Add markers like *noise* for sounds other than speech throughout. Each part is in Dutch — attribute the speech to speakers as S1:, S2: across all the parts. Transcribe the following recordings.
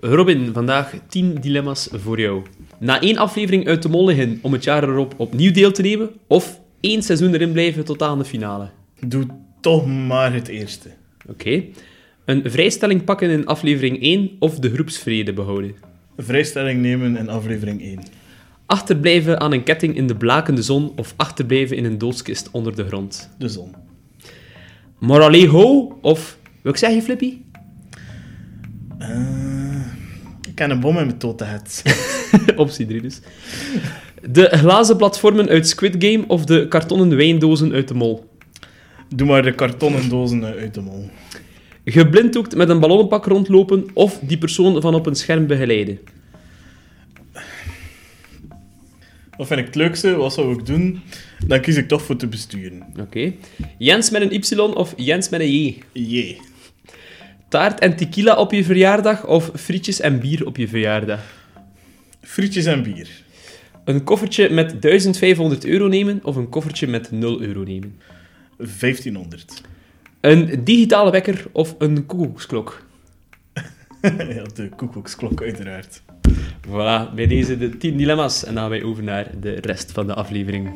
S1: Robin, vandaag 10 dilemma's voor jou. Na één aflevering uit de mol liggen om het jaar erop opnieuw deel te nemen, of één seizoen erin blijven tot aan de finale.
S2: Doe toch maar het eerste.
S1: Oké. Een vrijstelling pakken in aflevering 1 of de groepsvrede behouden.
S2: Vrijstelling nemen in aflevering 1.
S1: Achterblijven aan een ketting in de blakende zon of achterblijven in een doodskist onder de grond.
S2: De zon.
S1: Morale ho of... Wil ik zeggen, Flippy? *laughs*
S2: Eh, ik heb een bom in mijn tote het.
S1: Optie 3 dus. De glazen platformen uit Squid Game of de kartonnen wijndozen uit de mol.
S2: *laughs* Doe maar de kartonnen dozen eh, uit de mol.
S1: Geblinddoekt met een ballonnenpak rondlopen of die persoon van op een scherm begeleiden.
S2: Wat vind ik het leukste? Wat zou ik doen? Dan kies ik toch voor te besturen.
S1: Oké. Jens met een Y of Jens met een J.
S2: Jee.
S1: Taart en tequila op je verjaardag of frietjes en bier op je verjaardag.
S2: Frietjes en bier.
S1: Een koffertje met 1500 euro nemen of een koffertje met 0 euro nemen.
S2: 1500.
S1: Een digitale wekker of een koekoeksklok.
S2: *laughs* ja, de koekoeksklok uiteraard.
S1: Voilà, bij deze de 10 dilemma's. En dan gaan wij over naar de rest van de aflevering.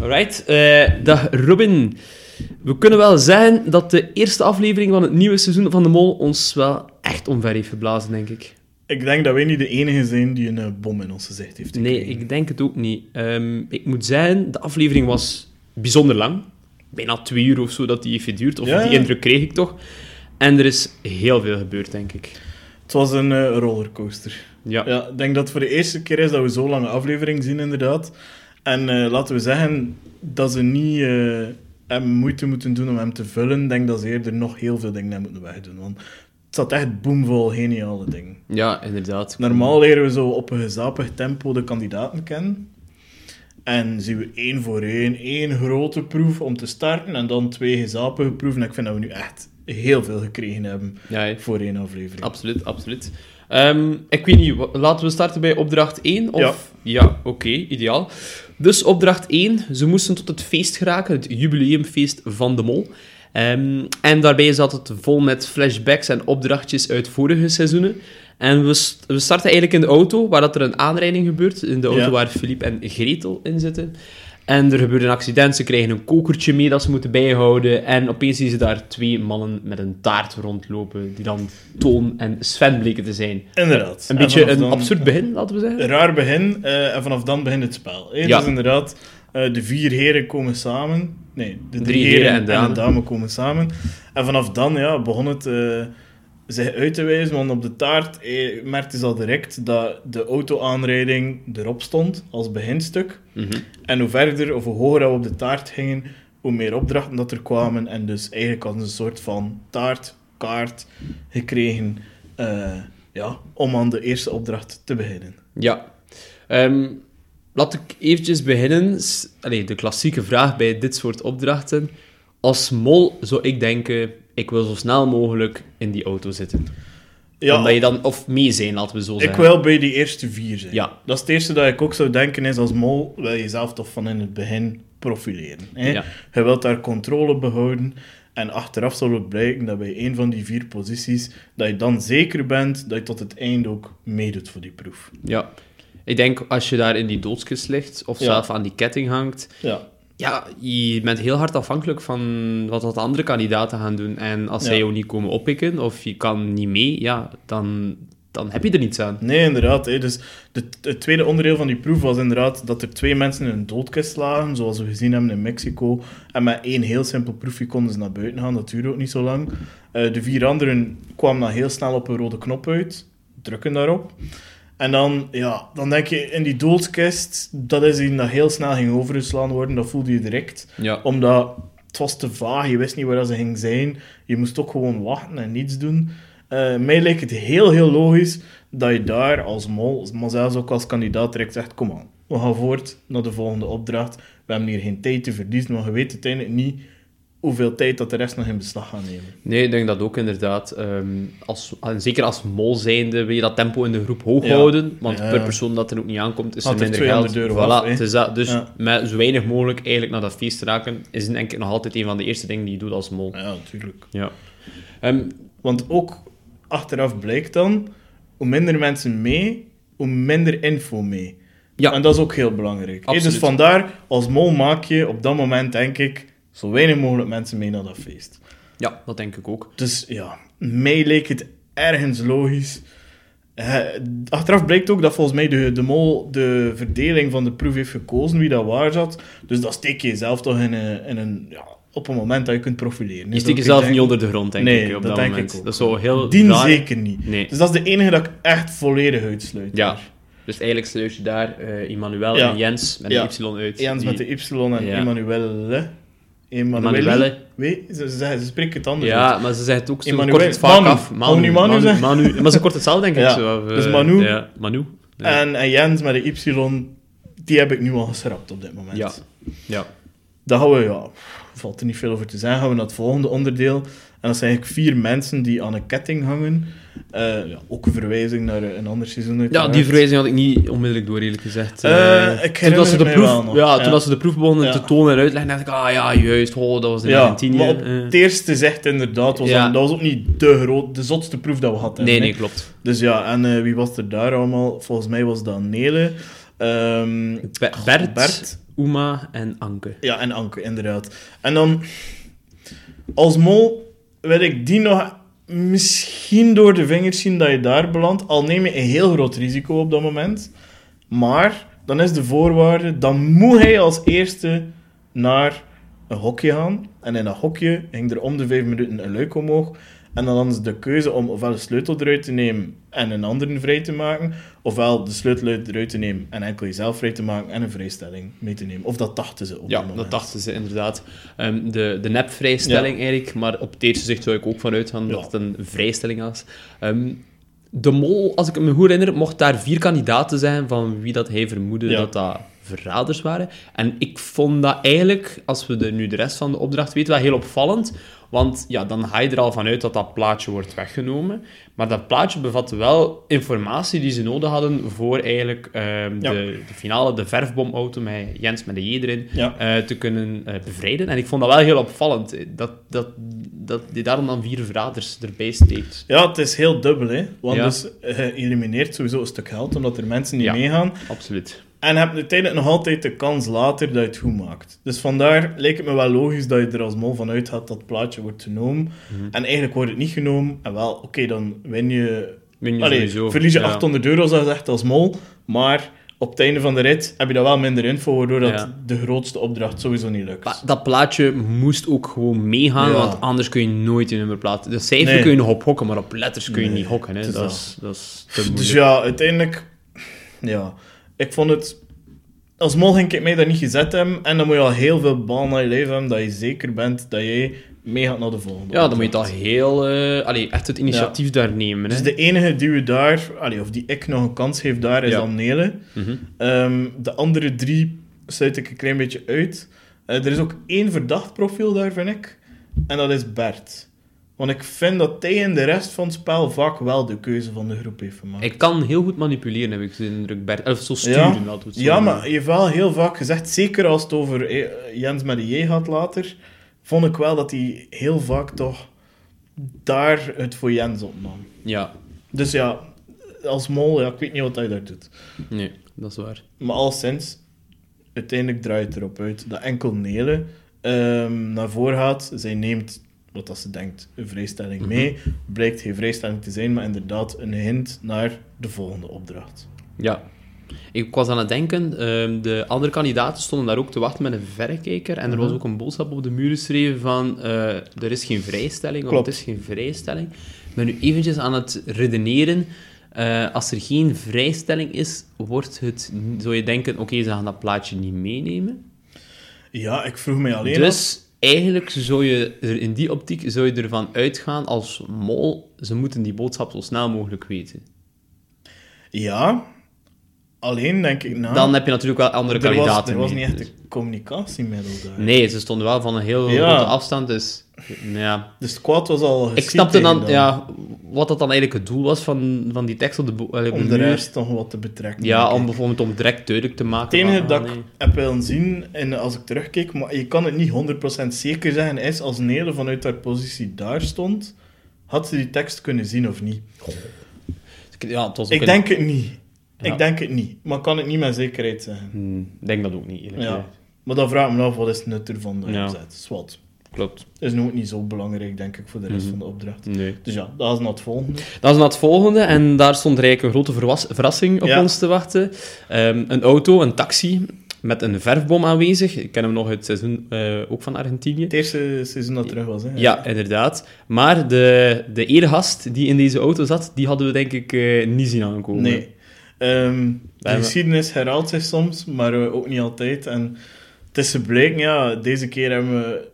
S1: Alright, eh, dag Robin. We kunnen wel zeggen dat de eerste aflevering van het nieuwe seizoen van De Mol ons wel echt omver heeft geblazen, denk ik.
S2: Ik denk dat wij niet de enige zijn die een eh, bom in ons gezicht heeft.
S1: Nee,
S2: gekregen.
S1: ik denk het ook niet. Ehm, ik moet zeggen, de aflevering was bijzonder lang. Bijna twee uur of zo dat die heeft geduurd. Of
S2: Ja,
S1: die
S2: ja.
S1: indruk kreeg ik toch. En er is heel veel gebeurd, denk ik.
S2: Het was een eh, rollercoaster.
S1: Ja.
S2: Ja, ik denk dat het voor de eerste keer is dat we zo'n lange aflevering zien, inderdaad. En eh, laten we zeggen dat ze niet eh, hem moeite moeten doen om hem te vullen. Ik denk dat ze eerder nog heel veel dingen hebben moeten wegdoen. Want het zat echt boomvol geniale dingen.
S1: ja, inderdaad.
S2: Normaal leren we zo op een gezapig tempo de kandidaten kennen. En zien we één voor één, één grote proef om te starten en dan twee gezapige proeven. En ik vind dat we nu echt heel veel gekregen hebben
S1: Ja, ja.
S2: voor één aflevering.
S1: absoluut, absoluut. Ehm, ik weet niet, wa- laten we starten bij opdracht 1? Of... Ja. oké, ideaal. Dus opdracht 1, ze moesten tot het feest geraken, het jubileumfeest van de mol. Ehm, en daarbij zat het vol met flashbacks en opdrachtjes uit vorige seizoenen. En we, st- we starten eigenlijk in de auto, waar dat er een aanrijding gebeurt. In de auto
S2: Ja.
S1: waar Philippe en Gretel in zitten. En er gebeurt een accident, ze krijgen een kokertje mee dat ze moeten bijhouden. En opeens zien ze daar twee mannen met een taart rondlopen, die dan Toon en Sven bleken te zijn.
S2: Inderdaad.
S1: Een
S2: En
S1: beetje
S2: vanaf
S1: een
S2: dan-
S1: absurd begin, laten we zeggen.
S2: raar begin eh, en vanaf dan begint het spel. Eh,
S1: Ja.
S2: Dus inderdaad, eh, de vier heren komen samen. Nee, de drie, heren, en,
S1: dame.
S2: een dame komen samen. En vanaf dan ja, begon het eh, zich uit te wijzen, want op de taart eh, merkte ze al direct dat de auto-aanrijding erop stond als beginstuk.
S1: Mhm.
S2: En hoe verder of hoe hoger we op de taart gingen, hoe meer opdrachten dat er kwamen. En dus eigenlijk hadden ze een soort van taartkaart gekregen eh, ja, om aan de eerste opdracht te beginnen.
S1: Ja. Ehm, laat ik eventjes beginnen. S- Allee, de klassieke vraag bij dit soort opdrachten. Als mol zou ik denken, ik wil zo snel mogelijk in die auto zitten. Omdat je dan, of mee zijn, laten we zo
S2: Ik
S1: zeggen.
S2: wil bij die eerste vier zijn.
S1: Ja.
S2: Dat is het eerste dat ik ook zou denken is als mol wil je zelf toch van in het begin profileren. Hè?
S1: Ja.
S2: Je wilt daar controle behouden en achteraf zal het blijken dat bij een van die vier posities dat je dan zeker bent dat je tot het einde ook meedoet voor die proef.
S1: Ja. Ik denk, als je daar in die doodskist ligt, of
S2: Ja.
S1: zelf aan die ketting hangt,
S2: Ja.
S1: ja, je bent heel hard afhankelijk van wat dat de andere kandidaten gaan doen. En als
S2: Ja.
S1: zij jou niet komen oppikken, of je kan niet mee, ja, dan, dan heb je er niets aan.
S2: Nee, inderdaad. Hè. Dus de, het tweede onderdeel van die proef was inderdaad dat er twee mensen in een doodkist lagen, zoals we gezien hebben in Mexico. En met één heel simpel proefje konden ze naar buiten gaan, dat duurde ook niet zo lang. Eh, de vier anderen kwamen dan heel snel op een rode knop uit, drukken daarop. En dan, ja, dan denk je, in die doodkist, dat is iets dat heel snel ging overgeslaan worden, dat voelde je direct.
S1: Ja.
S2: Omdat het was te vaag, je wist niet waar dat ze ging zijn. Je moest ook gewoon wachten en niets doen. Eh, mij lijkt het heel, heel logisch dat je daar als mol, maar zelfs ook als kandidaat, direct zegt: Kom aan, we gaan voort naar de volgende opdracht. We hebben hier geen tijd te verliezen, want je weet uiteindelijk niet hoeveel tijd dat de rest nog in beslag gaat nemen.
S1: Nee, ik denk dat ook inderdaad. ehm, als, en zeker als mol zijnde wil je dat tempo in de groep hoog
S2: Ja.
S1: houden. Want
S2: Ja.
S1: per persoon dat er ook niet aankomt, is er
S2: Had er
S1: minder
S2: 200
S1: geld.
S2: euro
S1: Voilà,
S2: af, hè.
S1: het is dat. Dus
S2: Ja.
S1: met zo weinig mogelijk eigenlijk naar dat feest te raken, is denk ik nog altijd een van de eerste dingen die je doet als mol.
S2: Ja, natuurlijk.
S1: Ja. Ehm,
S2: Want ook achteraf blijkt dan, hoe minder mensen mee, hoe minder info mee.
S1: Ja.
S2: En dat is ook heel belangrijk. hè.
S1: Absoluut.
S2: Dus vandaar, als mol maak je op dat moment, denk ik, zo weinig mogelijk mensen mee naar dat feest.
S1: ja, dat denk ik ook.
S2: Dus ja, mij leek het ergens logisch. Eh, achteraf blijkt ook dat volgens mij de, de mol de verdeling van de proef heeft gekozen, wie dat waar zat. Dus dat steek je jezelf toch in een, in een, ja, op een moment dat je kunt profileren.
S1: Je
S2: Is
S1: steekt
S2: dat
S1: jezelf
S2: ik
S1: niet
S2: denk?
S1: onder de grond, denk
S2: Nee,
S1: ik, op
S2: dat
S1: dat,
S2: denk
S1: moment.
S2: ik ook.
S1: Dat is zo heel
S2: Dien
S1: raar.
S2: zeker niet.
S1: Nee.
S2: Dus dat is de enige dat ik echt volledig uitsluit.
S1: Ja. Dus eigenlijk sluit je daar eh Emmanuel
S2: Ja.
S1: en Jens met
S2: Ja.
S1: een Y uit.
S2: Jens
S1: Die-
S2: Dus met de Y en
S1: Ja.
S2: Emanuele. Emanuele.
S1: Emanuele.
S2: Weet, ze, ze, ze spreken het anders uit.
S1: Ja, maar ze zegt het ook zo
S2: Emmanuel-
S1: kort het vaak
S2: Manu.
S1: af.
S2: Wou niet Manu zeggen?
S1: Manu. Maar ze kort het zelf, denk ik.
S2: Ja,
S1: Zo, of, eh,
S2: dus Manu.
S1: Ja, Manu. Ja.
S2: En, en Jens met de Y, die heb ik nu al geschrapt op dit moment.
S1: ja. ja.
S2: Dan gaan we, ja, valt er niet veel over te zeggen, gaan we naar het volgende onderdeel. En dat zijn eigenlijk vier mensen die aan een ketting hangen. Eh, ja, ook een verwijzing naar eh, een ander seizoen
S1: Ja,
S2: uiteraard.
S1: die verwijzing had ik niet onmiddellijk door, eerlijk gezegd.
S2: Eh,
S1: Eh,
S2: ik
S1: toen
S2: herinner
S1: dat ze de
S2: het mij
S1: proef,
S2: wel nog.
S1: Ja,
S2: Ja.
S1: toen dat ze de proef begonnen
S2: Ja.
S1: te tonen en uitleggen, dacht ik, ah ja, juist, oh, dat was in
S2: Ja,
S1: Argentinië.
S2: maar op
S1: eh.
S2: het eerste zegt inderdaad, was
S1: Ja.
S2: dat, dat was ook niet de, groot, de zotste proef dat we hadden.
S1: nee,
S2: hè.
S1: nee, klopt.
S2: Dus ja, en eh, wie was er daar allemaal? Volgens mij was dat Nele, ehm,
S1: Be- Bert,
S2: Bert.
S1: Uma en Anke.
S2: ja, en Anke, inderdaad. En dan, als mol wil ik die nog misschien door de vingers zien dat je daar belandt. Al neem je een heel groot risico op dat moment. Maar, dan is de voorwaarde, dan moet hij als eerste naar een hokje gaan. En in dat hokje hing er om de vijf minuten een luik omhoog. En dan hadden ze de keuze om ofwel de sleutel eruit te nemen en een ander vrij te maken, ofwel de sleutel eruit te nemen en enkel jezelf vrij te maken en een vrijstelling mee te nemen. Of dat dachten ze op
S1: Ja,
S2: dat moment.
S1: dat dachten ze inderdaad. Ehm, de, de nepvrijstelling eigenlijk, maar op het eerste zicht zou ik ook vanuit gaan
S2: Ja.
S1: dat het een vrijstelling was. Ehm, de mol, als ik me goed herinner, mocht daar vier kandidaten zijn van wie dat hij vermoedde
S2: Ja.
S1: dat dat verraders waren. En ik vond dat eigenlijk, als we de, nu de rest van de opdracht weten, wel heel opvallend. Want ja, dan ga je er al vanuit dat dat plaatje wordt weggenomen. Maar dat plaatje bevatte wel informatie die ze nodig hadden voor eigenlijk ehm,
S2: Ja.
S1: de, de finale, de verfbomauto met Jens met de J erin
S2: Ja.
S1: eh, te kunnen eh, bevrijden. En ik vond dat wel heel opvallend, eh, dat, dat, dat je daarom dan vier verraders erbij steekt.
S2: Ja, het is heel dubbel, hè. Want
S1: Ja.
S2: dus, eh, je elimineert sowieso een stuk geld, omdat er mensen niet
S1: Ja.
S2: meegaan.
S1: Absoluut.
S2: En heb uiteindelijk nog altijd de kans later dat je het goed maakt. Dus vandaar leek het me wel logisch dat je er als mol van uit gaat dat het plaatje wordt genomen.
S1: Mhm.
S2: En eigenlijk wordt het niet genomen. En wel, oké, dan win je...
S1: Win je
S2: Allee,
S1: sowieso,
S2: verlies je
S1: ja.
S2: 800 euro, zoals echt als mol. Maar op het einde van de rit heb je daar wel minder info, waardoor dat
S1: Ja.
S2: de grootste opdracht sowieso niet lukt.
S1: Maar dat plaatje moest ook gewoon meegaan,
S2: Ja.
S1: want anders kun je nooit een nummer plaatsen. De cijfer
S2: Nee.
S1: kun je nog op hokken, maar op letters kun je
S2: Nee,
S1: niet hokken. Hè.
S2: het is
S1: Dat,
S2: dat.
S1: is, dat is te
S2: Dus
S1: moeilijk.
S2: ja, uiteindelijk... Ja, ik vond het... Als mol ging ik mij dat niet gezet hebben. En dan moet je al heel veel bal naar je lijf hebben dat je zeker bent dat jij mee gaat naar de volgende.
S1: Ja, dan moet je
S2: opdracht.
S1: dat heel... eh, allee, echt het initiatief daar nemen. Hè.
S2: Dus de enige die we daar, allee, of die ik nog een kans geef daar, is
S1: Ja.
S2: dan Nele.
S1: Mhm.
S2: Ehm, de andere drie sluit ik een klein beetje uit. Eh, er is ook één verdacht profiel daar, vind ik. En dat is Bert. Want ik vind dat hij in de rest van het spel vaak wel de keuze van de groep heeft gemaakt.
S1: Hij kan heel goed manipuleren, heb ik de indruk. Bert. Of zo sturen,
S2: Ja,
S1: laten we het zo
S2: ja
S1: noemen.
S2: maar je hebt wel heel vaak gezegd, zeker als het over eh, Jens met de J gaat later, vond ik wel dat hij heel vaak toch daar het voor Jens opnam.
S1: Ja,
S2: Dus ja, als mol, ja, ik weet niet wat hij daar doet.
S1: nee, dat is waar.
S2: Maar al sinds, uiteindelijk draait het erop uit dat enkel Nele ehm, naar voren gaat. Zij neemt wat dat ze denkt, een vrijstelling mee. Blijkt geen vrijstelling te zijn, maar inderdaad een hint naar de volgende opdracht.
S1: Ja. Ik was aan het denken, ehm, de andere kandidaten stonden daar ook te wachten met een verrekijker. En er was
S2: Mhm.
S1: ook een boodschap op de muur geschreven van... eh, er is geen vrijstelling, want
S2: Klopt.
S1: het is geen vrijstelling. Ik ben nu eventjes aan het redeneren. eh, als er geen vrijstelling is, wordt het... Zou je denken, oké, ze gaan dat plaatje niet meenemen.
S2: Ja, ik vroeg mij alleen af...
S1: Dus eigenlijk zou je er in die optiek zou je ervan uitgaan als mol... Ze moeten die boodschap zo snel mogelijk weten.
S2: Ja, alleen, denk ik. Nou,
S1: Dan heb je natuurlijk wel andere
S2: er
S1: kandidaten
S2: was, er was
S1: mee.
S2: niet echt
S1: Dus-
S2: een communicatiemiddel daar.
S1: Nee, ze stonden wel van een heel
S2: Ja.
S1: grote afstand, dus... Ja.
S2: Dus het kwaad was al
S1: Ik
S2: geschied
S1: snapte
S2: tegen
S1: dan, ja, wat dat dan eigenlijk het doel was van, van die tekst op de, bo- allee, op
S2: Om
S1: de
S2: de
S1: muur.
S2: rest nog wat te betrekken.
S1: Ja,
S2: denk
S1: om
S2: ik.
S1: bijvoorbeeld om direct duidelijk te maken.
S2: Het
S1: van,
S2: enige
S1: ah,
S2: dat ik
S1: nee.
S2: heb willen zien, en als ik terugkeek, maar je kan het niet 100% zeker zeggen, is als Nele vanuit haar positie daar stond, had ze die tekst kunnen zien of niet?
S1: Dus Ja, het was ook
S2: Ik
S1: een-
S2: denk het niet.
S1: Ja.
S2: Ik denk het niet, maar ik kan het niet met zekerheid zeggen.
S1: Hmm, Ik denk dat ook niet, eerlijk
S2: Ja.
S1: gezegd.
S2: Maar dan vraag ik me af, wat is het nut ervan dat je
S1: Ja.
S2: opzet? Zwat.
S1: Klopt.
S2: Is nu ook niet zo belangrijk, denk ik, voor de rest
S1: Mhm.
S2: van de opdracht.
S1: Nee.
S2: Dus ja, dat is nog het volgende.
S1: Dat is naar het volgende. En daar stond er eigenlijk een grote verwas- verrassing op
S2: Ja.
S1: ons te wachten. Ehm, een auto, een taxi met een verfbom aanwezig. Ik ken hem nog uit het seizoen eh, ook van Argentinië.
S2: Het eerste seizoen dat terug was, hè?
S1: Ja, inderdaad. Maar de, de eergast die in deze auto zat, die hadden we denk ik eh, niet zien aankomen.
S2: Nee. Ehm, de
S1: hebben-
S2: geschiedenis herhaalt zich soms, maar eh, ook niet altijd. En het is gebleken, ja, deze keer hebben we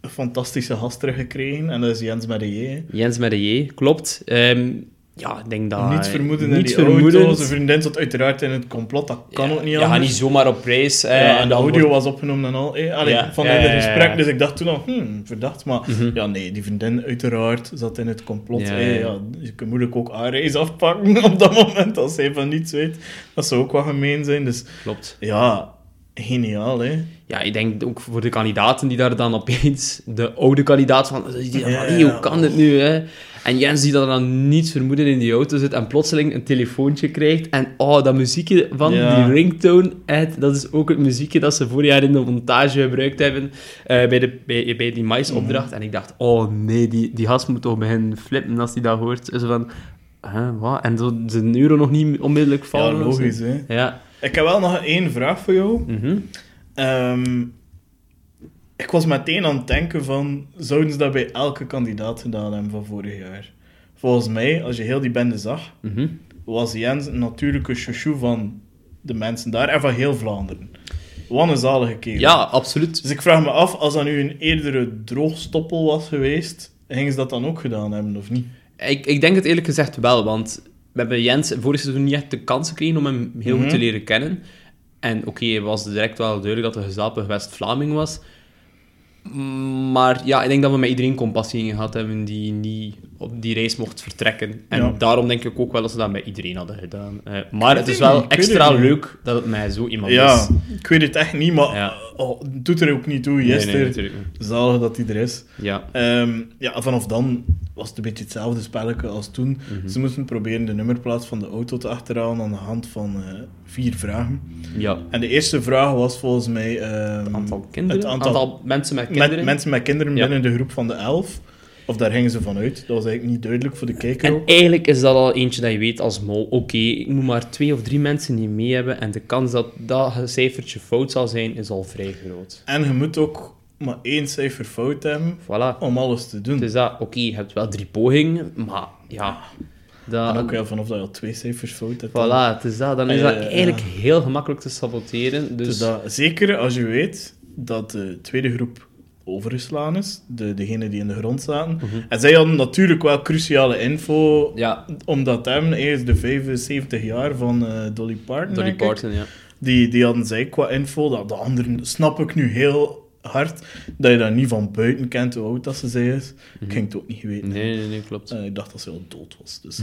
S2: een fantastische gast teruggekregen. En dat is Jens Marier.
S1: Jens met een J, klopt. Ehm, ja, ik denk dat...
S2: niets vermoeden in
S1: Ah, niets
S2: die
S1: vermoedend.
S2: auto. Zijn vriendin zat uiteraard in het complot, dat kan
S1: Ja,
S2: ook niet
S1: Je
S2: anders.
S1: gaat niet zomaar op reis. eh,
S2: Ja, en de
S1: dan
S2: audio
S1: wordt-
S2: was opgenomen en al. eh, allee,
S1: Ja,
S2: vanuit
S1: ja, ja,
S2: het
S1: ja, ja. Mhm.
S2: gesprek, dus ik dacht toen al, hmm, verdacht. Maar ja, nee, die vriendin uiteraard zat in het complot.
S1: Ja,
S2: Ja,
S1: ja, ja.
S2: ja, je kunt moeilijk ook A-reis afpakken *laughs* op dat moment, als zij van niets weet. Dat zou ook wel gemeen zijn, dus...
S1: Klopt.
S2: Ja, geniaal, hè?
S1: Ja, ik denk ook voor de kandidaten die daar dan opeens de oude kandidaat van, die dan,
S2: Ja,
S1: "Allee,
S2: ja.
S1: hoe kan dit nu? Hè? En Jens die dat dan niets vermoeden in die auto zit en plotseling een telefoontje krijgt. En oh, dat muziekje van
S2: Ja.
S1: die ringtone, Ed, dat is ook het muziekje dat ze vorig jaar in de montage gebruikt hebben eh, bij, de, bij, bij die
S2: Mhm.
S1: maisopdracht. En ik dacht, oh nee, die, die gast moet toch beginnen flippen als hij dat hoort. Zo van, hè, wat? En zo zijn euro nog niet onmiddellijk
S2: Ja,
S1: vallen. of zo.
S2: logisch, hè?
S1: Ja.
S2: Ik heb wel nog één vraag voor jou.
S1: Mhm.
S2: Ehm, ik was meteen aan het denken van... Zouden ze dat bij elke kandidaat gedaan hebben van vorig jaar? Volgens mij, als je heel die bende zag...
S1: Mhm.
S2: was Jens een natuurlijke chouchou van de mensen daar en van heel Vlaanderen. Wat een zalige kerel.
S1: Ja, absoluut.
S2: Dus ik vraag me af, als dat nu een eerdere droogstoppel was geweest, gingen ze dat dan ook gedaan hebben of niet?
S1: Ik, ik denk het eerlijk gezegd wel, want we hebben Jens vorig seizoen niet echt de kans gekregen om hem heel goed
S2: Mhm.
S1: te leren kennen. En oké, het was direct wel duidelijk dat hij gezapen West-Vlaming was. Mm, Maar ja, ik denk dat we met iedereen compassie gehad hebben die niet op die reis mocht vertrekken. En
S2: Ja.
S1: daarom denk ik ook wel dat ze dat met iedereen hadden gedaan. Eh, maar het is
S2: het
S1: wel
S2: niet, ik weet
S1: extra
S2: het niet.
S1: leuk dat het mij zo iemand
S2: ja,
S1: is.
S2: ik weet het echt niet, maar
S1: Ja.
S2: oh, het doet er ook niet toe.
S1: Nee, nee,
S2: Gisteren,
S1: natuurlijk niet.
S2: zalig dat hij er is.
S1: Ja,
S2: Ehm, ja, vanaf dan was het een beetje hetzelfde spelletje als toen.
S1: Mhm.
S2: Ze moesten proberen de nummerplaat van de auto te achterhalen aan de hand van eh, vier vragen.
S1: ja.
S2: En de eerste vraag was volgens mij... ehm,
S1: Het aantal kinderen,
S2: het
S1: het
S2: aantal-
S1: aantal, mensen met kinderen.
S2: Met, mensen met kinderen
S1: Ja.
S2: binnen de groep van de elf. Of daar gingen ze vanuit. Dat was eigenlijk niet duidelijk voor de kijker.
S1: En
S2: ook.
S1: eigenlijk is dat al eentje dat je weet als mol. Oké, ik moet maar twee of drie mensen die mee hebben. En de kans dat dat cijfertje fout zal zijn, is al vrij groot.
S2: En je moet ook maar één cijfer fout hebben
S1: Voilà.
S2: om alles te doen.
S1: Dus dat, oké, je hebt wel drie pogingen, maar ja. Dat,
S2: En ook ja, vanaf dat je al twee cijfers fout hebt. dan-
S1: Voilà, het is dat. Dan is
S2: Ah, Eh,
S1: dat
S2: ja.
S1: eigenlijk heel gemakkelijk te saboteren. Dus,
S2: Dus dat, zeker als je weet dat de tweede groep overgeslaan is, de, degene die in de grond zaten. En zij hadden natuurlijk wel cruciale info,
S1: Mhm. ja,
S2: omdat hem is de 75 jaar van eh, Dolly Parton.
S1: Dolly
S2: denk ik.
S1: Parton, ja.
S2: Die, die hadden zij qua info. Dat de anderen snap ik nu heel hard dat je dat niet van buiten kent hoe oud dat ze zij is. Ik ging het ook niet weten.
S1: Mhm. Nee, nee, nee, klopt.
S2: Eh, ik dacht dat ze al dood was.
S1: *laughs*
S2: Dus,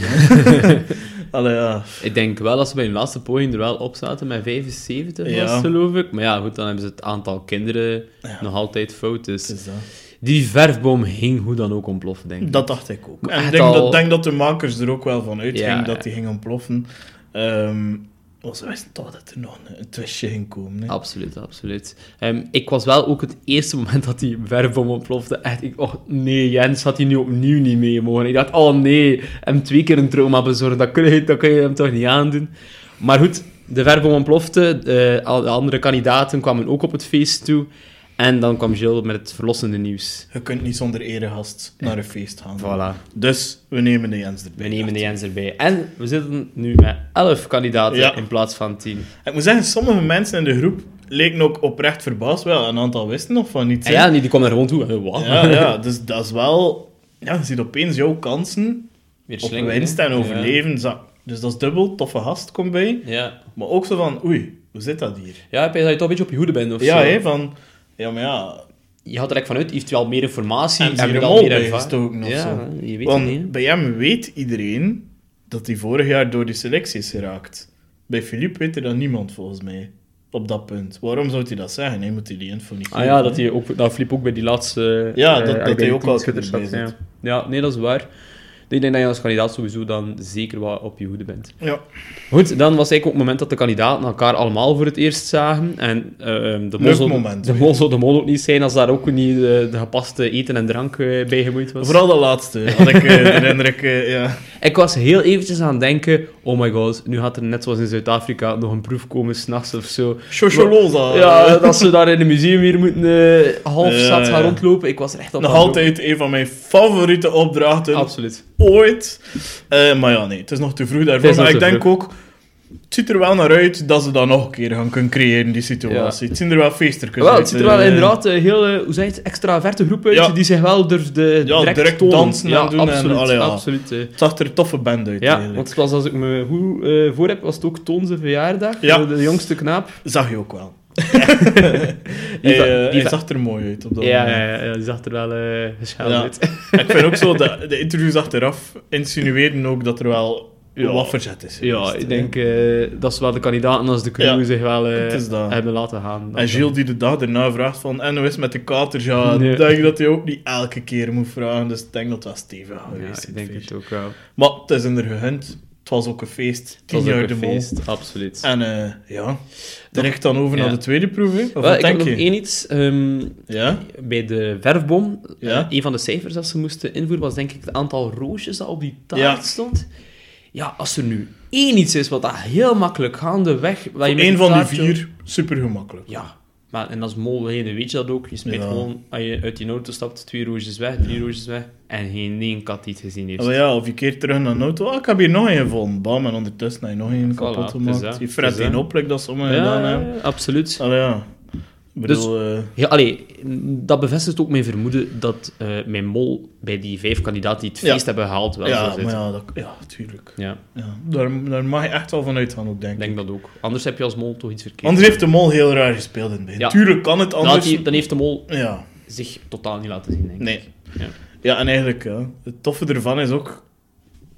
S2: Allee, ja.
S1: Ik denk wel dat ze bij hun laatste poging er wel op zaten met 75, was,
S2: Ja.
S1: het, geloof ik. Maar ja, goed, dan hebben ze het aantal kinderen
S2: Ja.
S1: nog altijd fout. Dus
S2: Dus dat.
S1: Die verfboom ging hoe dan ook ontploffen, denk ik.
S2: dat dacht ik ook.
S1: Maar
S2: En ik
S1: echt
S2: denk,
S1: al-
S2: dat, denk dat de makers er ook wel van uitgingen
S1: Ja,
S2: dat
S1: ja.
S2: die ging ontploffen. Ehm want ze wisten toch dat er nog een, een twistje ging komen. Hè.
S1: Absoluut, absoluut. Ehm, ik was wel ook het eerste moment dat die verfboom ontplofte. Echt, ik, oh nee, Jens had hij nu opnieuw niet mee mogen. Ik dacht, oh nee, hem twee keer een trauma bezorgen, dat kun je, dat kun je hem toch niet aandoen. Maar goed, de verfboom ontplofte. eh, al de andere kandidaten kwamen ook op het feest toe. En dan kwam Jill met het verlossende nieuws.
S2: Je kunt niet zonder eregast naar een feest gaan.
S1: Voilà.
S2: Dus we nemen de Jens erbij.
S1: We nemen de Jens erbij. En we zitten nu met 11 kandidaten
S2: Ja.
S1: in plaats van 10.
S2: Ik moet zeggen, sommige mensen in de groep leken ook oprecht verbaasd. Wel, een aantal wisten nog van niets.
S1: En
S2: hè.
S1: ja, die die kwam er gewoon toe. Eh, *laughs* Wat?
S2: ja, ja, dus dat is wel... Ja, je ziet opeens jouw kansen
S1: Weer
S2: op
S1: slingeren,
S2: winst
S1: hè?
S2: en
S1: Ja.
S2: overleven. Zo, Dus dat is dubbel, toffe gast komt bij.
S1: Ja.
S2: Maar ook zo van, oei, hoe zit dat hier?
S1: Ja, ik denk dat je toch een beetje op je hoede bent of
S2: Ja,
S1: zo.
S2: hè, van... Ja, maar ja,
S1: Je gaat er eigenlijk vanuit, heeft hij al meer informatie?
S2: En ze
S1: hebben
S2: hier
S1: we al
S2: een mol
S1: meer
S2: bij
S1: erva-
S2: gestoken of
S1: ja,
S2: zo.
S1: je weet het
S2: Want
S1: niet. hè.
S2: bij hem weet iedereen dat hij vorig jaar door die selectie is geraakt. Bij Philippe weet er dan niemand volgens mij op dat punt. Waarom zou hij dat zeggen? Hij moet die info niet
S1: Ah ja, dat, hij ook, dat Flip ook bij die laatste...
S2: Ja,
S1: eh,
S2: dat- dat hij ook al
S1: schutter
S2: erbij
S1: zat,
S2: zit.
S1: Ja. ja, nee, dat is waar. Ik denk dat je als kandidaat sowieso dan zeker wat op je hoede bent.
S2: Ja.
S1: Goed, dan was eigenlijk ook het moment dat de kandidaten elkaar allemaal voor het eerst zagen. En eh, ehm, de
S2: Leuk
S1: mol zou-
S2: moment,
S1: de mol zou de mol ook niet zijn als daar ook niet eh, de gepaste eten en drank eh, bij gemoeid was.
S2: Vooral dat laatste, had ik eh, de indruk. eh, ja.
S1: Ik was heel eventjes aan het denken, oh my god, nu gaat er net zoals in Zuid-Afrika nog een proef komen, s'nachts of zo.
S2: Socioloza. eh,
S1: Ja, dat ze daar in het museum hier moeten eh, half
S2: Ja,
S1: zat gaan
S2: ja.
S1: rondlopen. Ik was er echt op
S2: Nog
S1: aan het
S2: altijd een van mijn favoriete opdrachten
S1: lopen. Absoluut.
S2: ooit. Eh, maar ja, nee, het is nog te vroeg
S1: Het
S2: daarvoor.
S1: is nog
S2: Maar ik
S1: te
S2: denk ook, het ziet er wel naar uit dat ze dat nog een keer gaan kunnen creëren, die situatie. Het zien er wel feesterkens
S1: Wel,
S2: uit.
S1: het ziet er wel
S2: eh.
S1: inderdaad een heel, eh, hoe zeg je het, extraverte groep uit,
S2: Ja.
S1: die zich wel durfde
S2: Ja,
S1: direct,
S2: direct
S1: tonen.
S2: dansen en
S1: ja,
S2: doen en
S1: Absoluut,
S2: allee, ja.
S1: absoluut. eh.
S2: Het zag er een toffe band uit.
S1: Ja,
S2: eigenlijk.
S1: want zoals als ik me goed eh, voor heb, was het ook Toon zijn verjaardag.
S2: Ja.
S1: eh, De jongste knaap.
S2: Zag je ook wel.
S1: *laughs* Die
S2: Die,
S1: va-
S2: hij
S1: die va-
S2: zag er mooi uit op dat
S1: Ja,
S2: moment.
S1: ja, ja, ja, die zag er wel eh geschaald
S2: Ja.
S1: uit.
S2: *laughs* Ik vind ook zo, de, de interviews achteraf insinueerden ook dat er wel
S1: Ja.
S2: wat verzet is.
S1: Ja,
S2: geweest,
S1: ik
S2: hè.
S1: denk eh, dat zowel de kandidaten als de crew
S2: Ja,
S1: zich wel eh,
S2: het is dat.
S1: hebben laten gaan. Dat
S2: En
S1: is
S2: Gilles die de dag daarna vraagt van, en hoe is het met de katers? Ja, ik
S1: Nee.
S2: denk dat hij ook niet elke keer moet vragen. Dus ik denk dat het wel stevig
S1: wel- Oh, Ja,
S2: geweest is,
S1: ik denk
S2: het
S1: het
S2: feestje.
S1: ook wel. Het
S2: Maar het is in de gegund. Het was ook een feest. Tien
S1: was ook
S2: jaar
S1: een
S2: de mol.
S1: feest, absoluut.
S2: En eh, ja, direct dan over
S1: Ja.
S2: naar de tweede proef. hè? Of
S1: Wel,
S2: wat
S1: ik heb
S2: denk
S1: eh, nog
S2: je?
S1: één iets. ehm,
S2: Ja?
S1: bij de verfbom, eh,
S2: Ja.
S1: een van de cijfers dat ze moesten invoeren, was denk ik het aantal roosjes dat op die taart
S2: Ja.
S1: stond. Ja, als er nu één iets is wat dat heel makkelijk gaandeweg... Dat je met
S2: Eén van die
S1: taart zo-
S2: vier, super gemakkelijk.
S1: Ja, maar en als mol weet weet je dat ook. Je spijt
S2: Ja.
S1: gewoon, als je uit die auto stapt, twee roosjes weg, drie roosjes weg, en geen één kat die het gezien heeft.
S2: Oh ja, of je keert terug naar de auto. Ah, ik heb hier nog één gevonden. Bam, en ondertussen heb je nog één
S1: Voilà,
S2: kapot
S1: het is
S2: gemaakt.
S1: dat,
S2: je
S1: het is
S2: fret één
S1: dat.
S2: op, like dat sommigen gedaan
S1: ja, Dus
S2: hebben.
S1: absoluut.
S2: Allee, ja. Ik bedoel, eh,
S1: Ja, allee, dat bevestigt ook mijn vermoeden dat eh, mijn mol bij die vijf kandidaten die het
S2: Ja.
S1: feest hebben gehaald wel
S2: ja,
S1: zou
S2: maar
S1: zitten.
S2: ja, dat, ja, tuurlijk.
S1: Ja,
S2: Ja, daar, daar mag je echt wel van uitgaan, ook, denk
S1: ik
S2: ik.
S1: denk dat ook. Anders heb je als mol toch iets verkeerd.
S2: Anders heeft de mol heel raar gespeeld in het begin.
S1: Ja.
S2: Tuurlijk kan het
S1: Dan, had
S2: anders.
S1: hij- dan heeft de mol
S2: Ja.
S1: zich totaal niet laten zien, denk ik.
S2: Nee.
S1: Ja.
S2: Ja. en eigenlijk, ja, het toffe ervan is ook...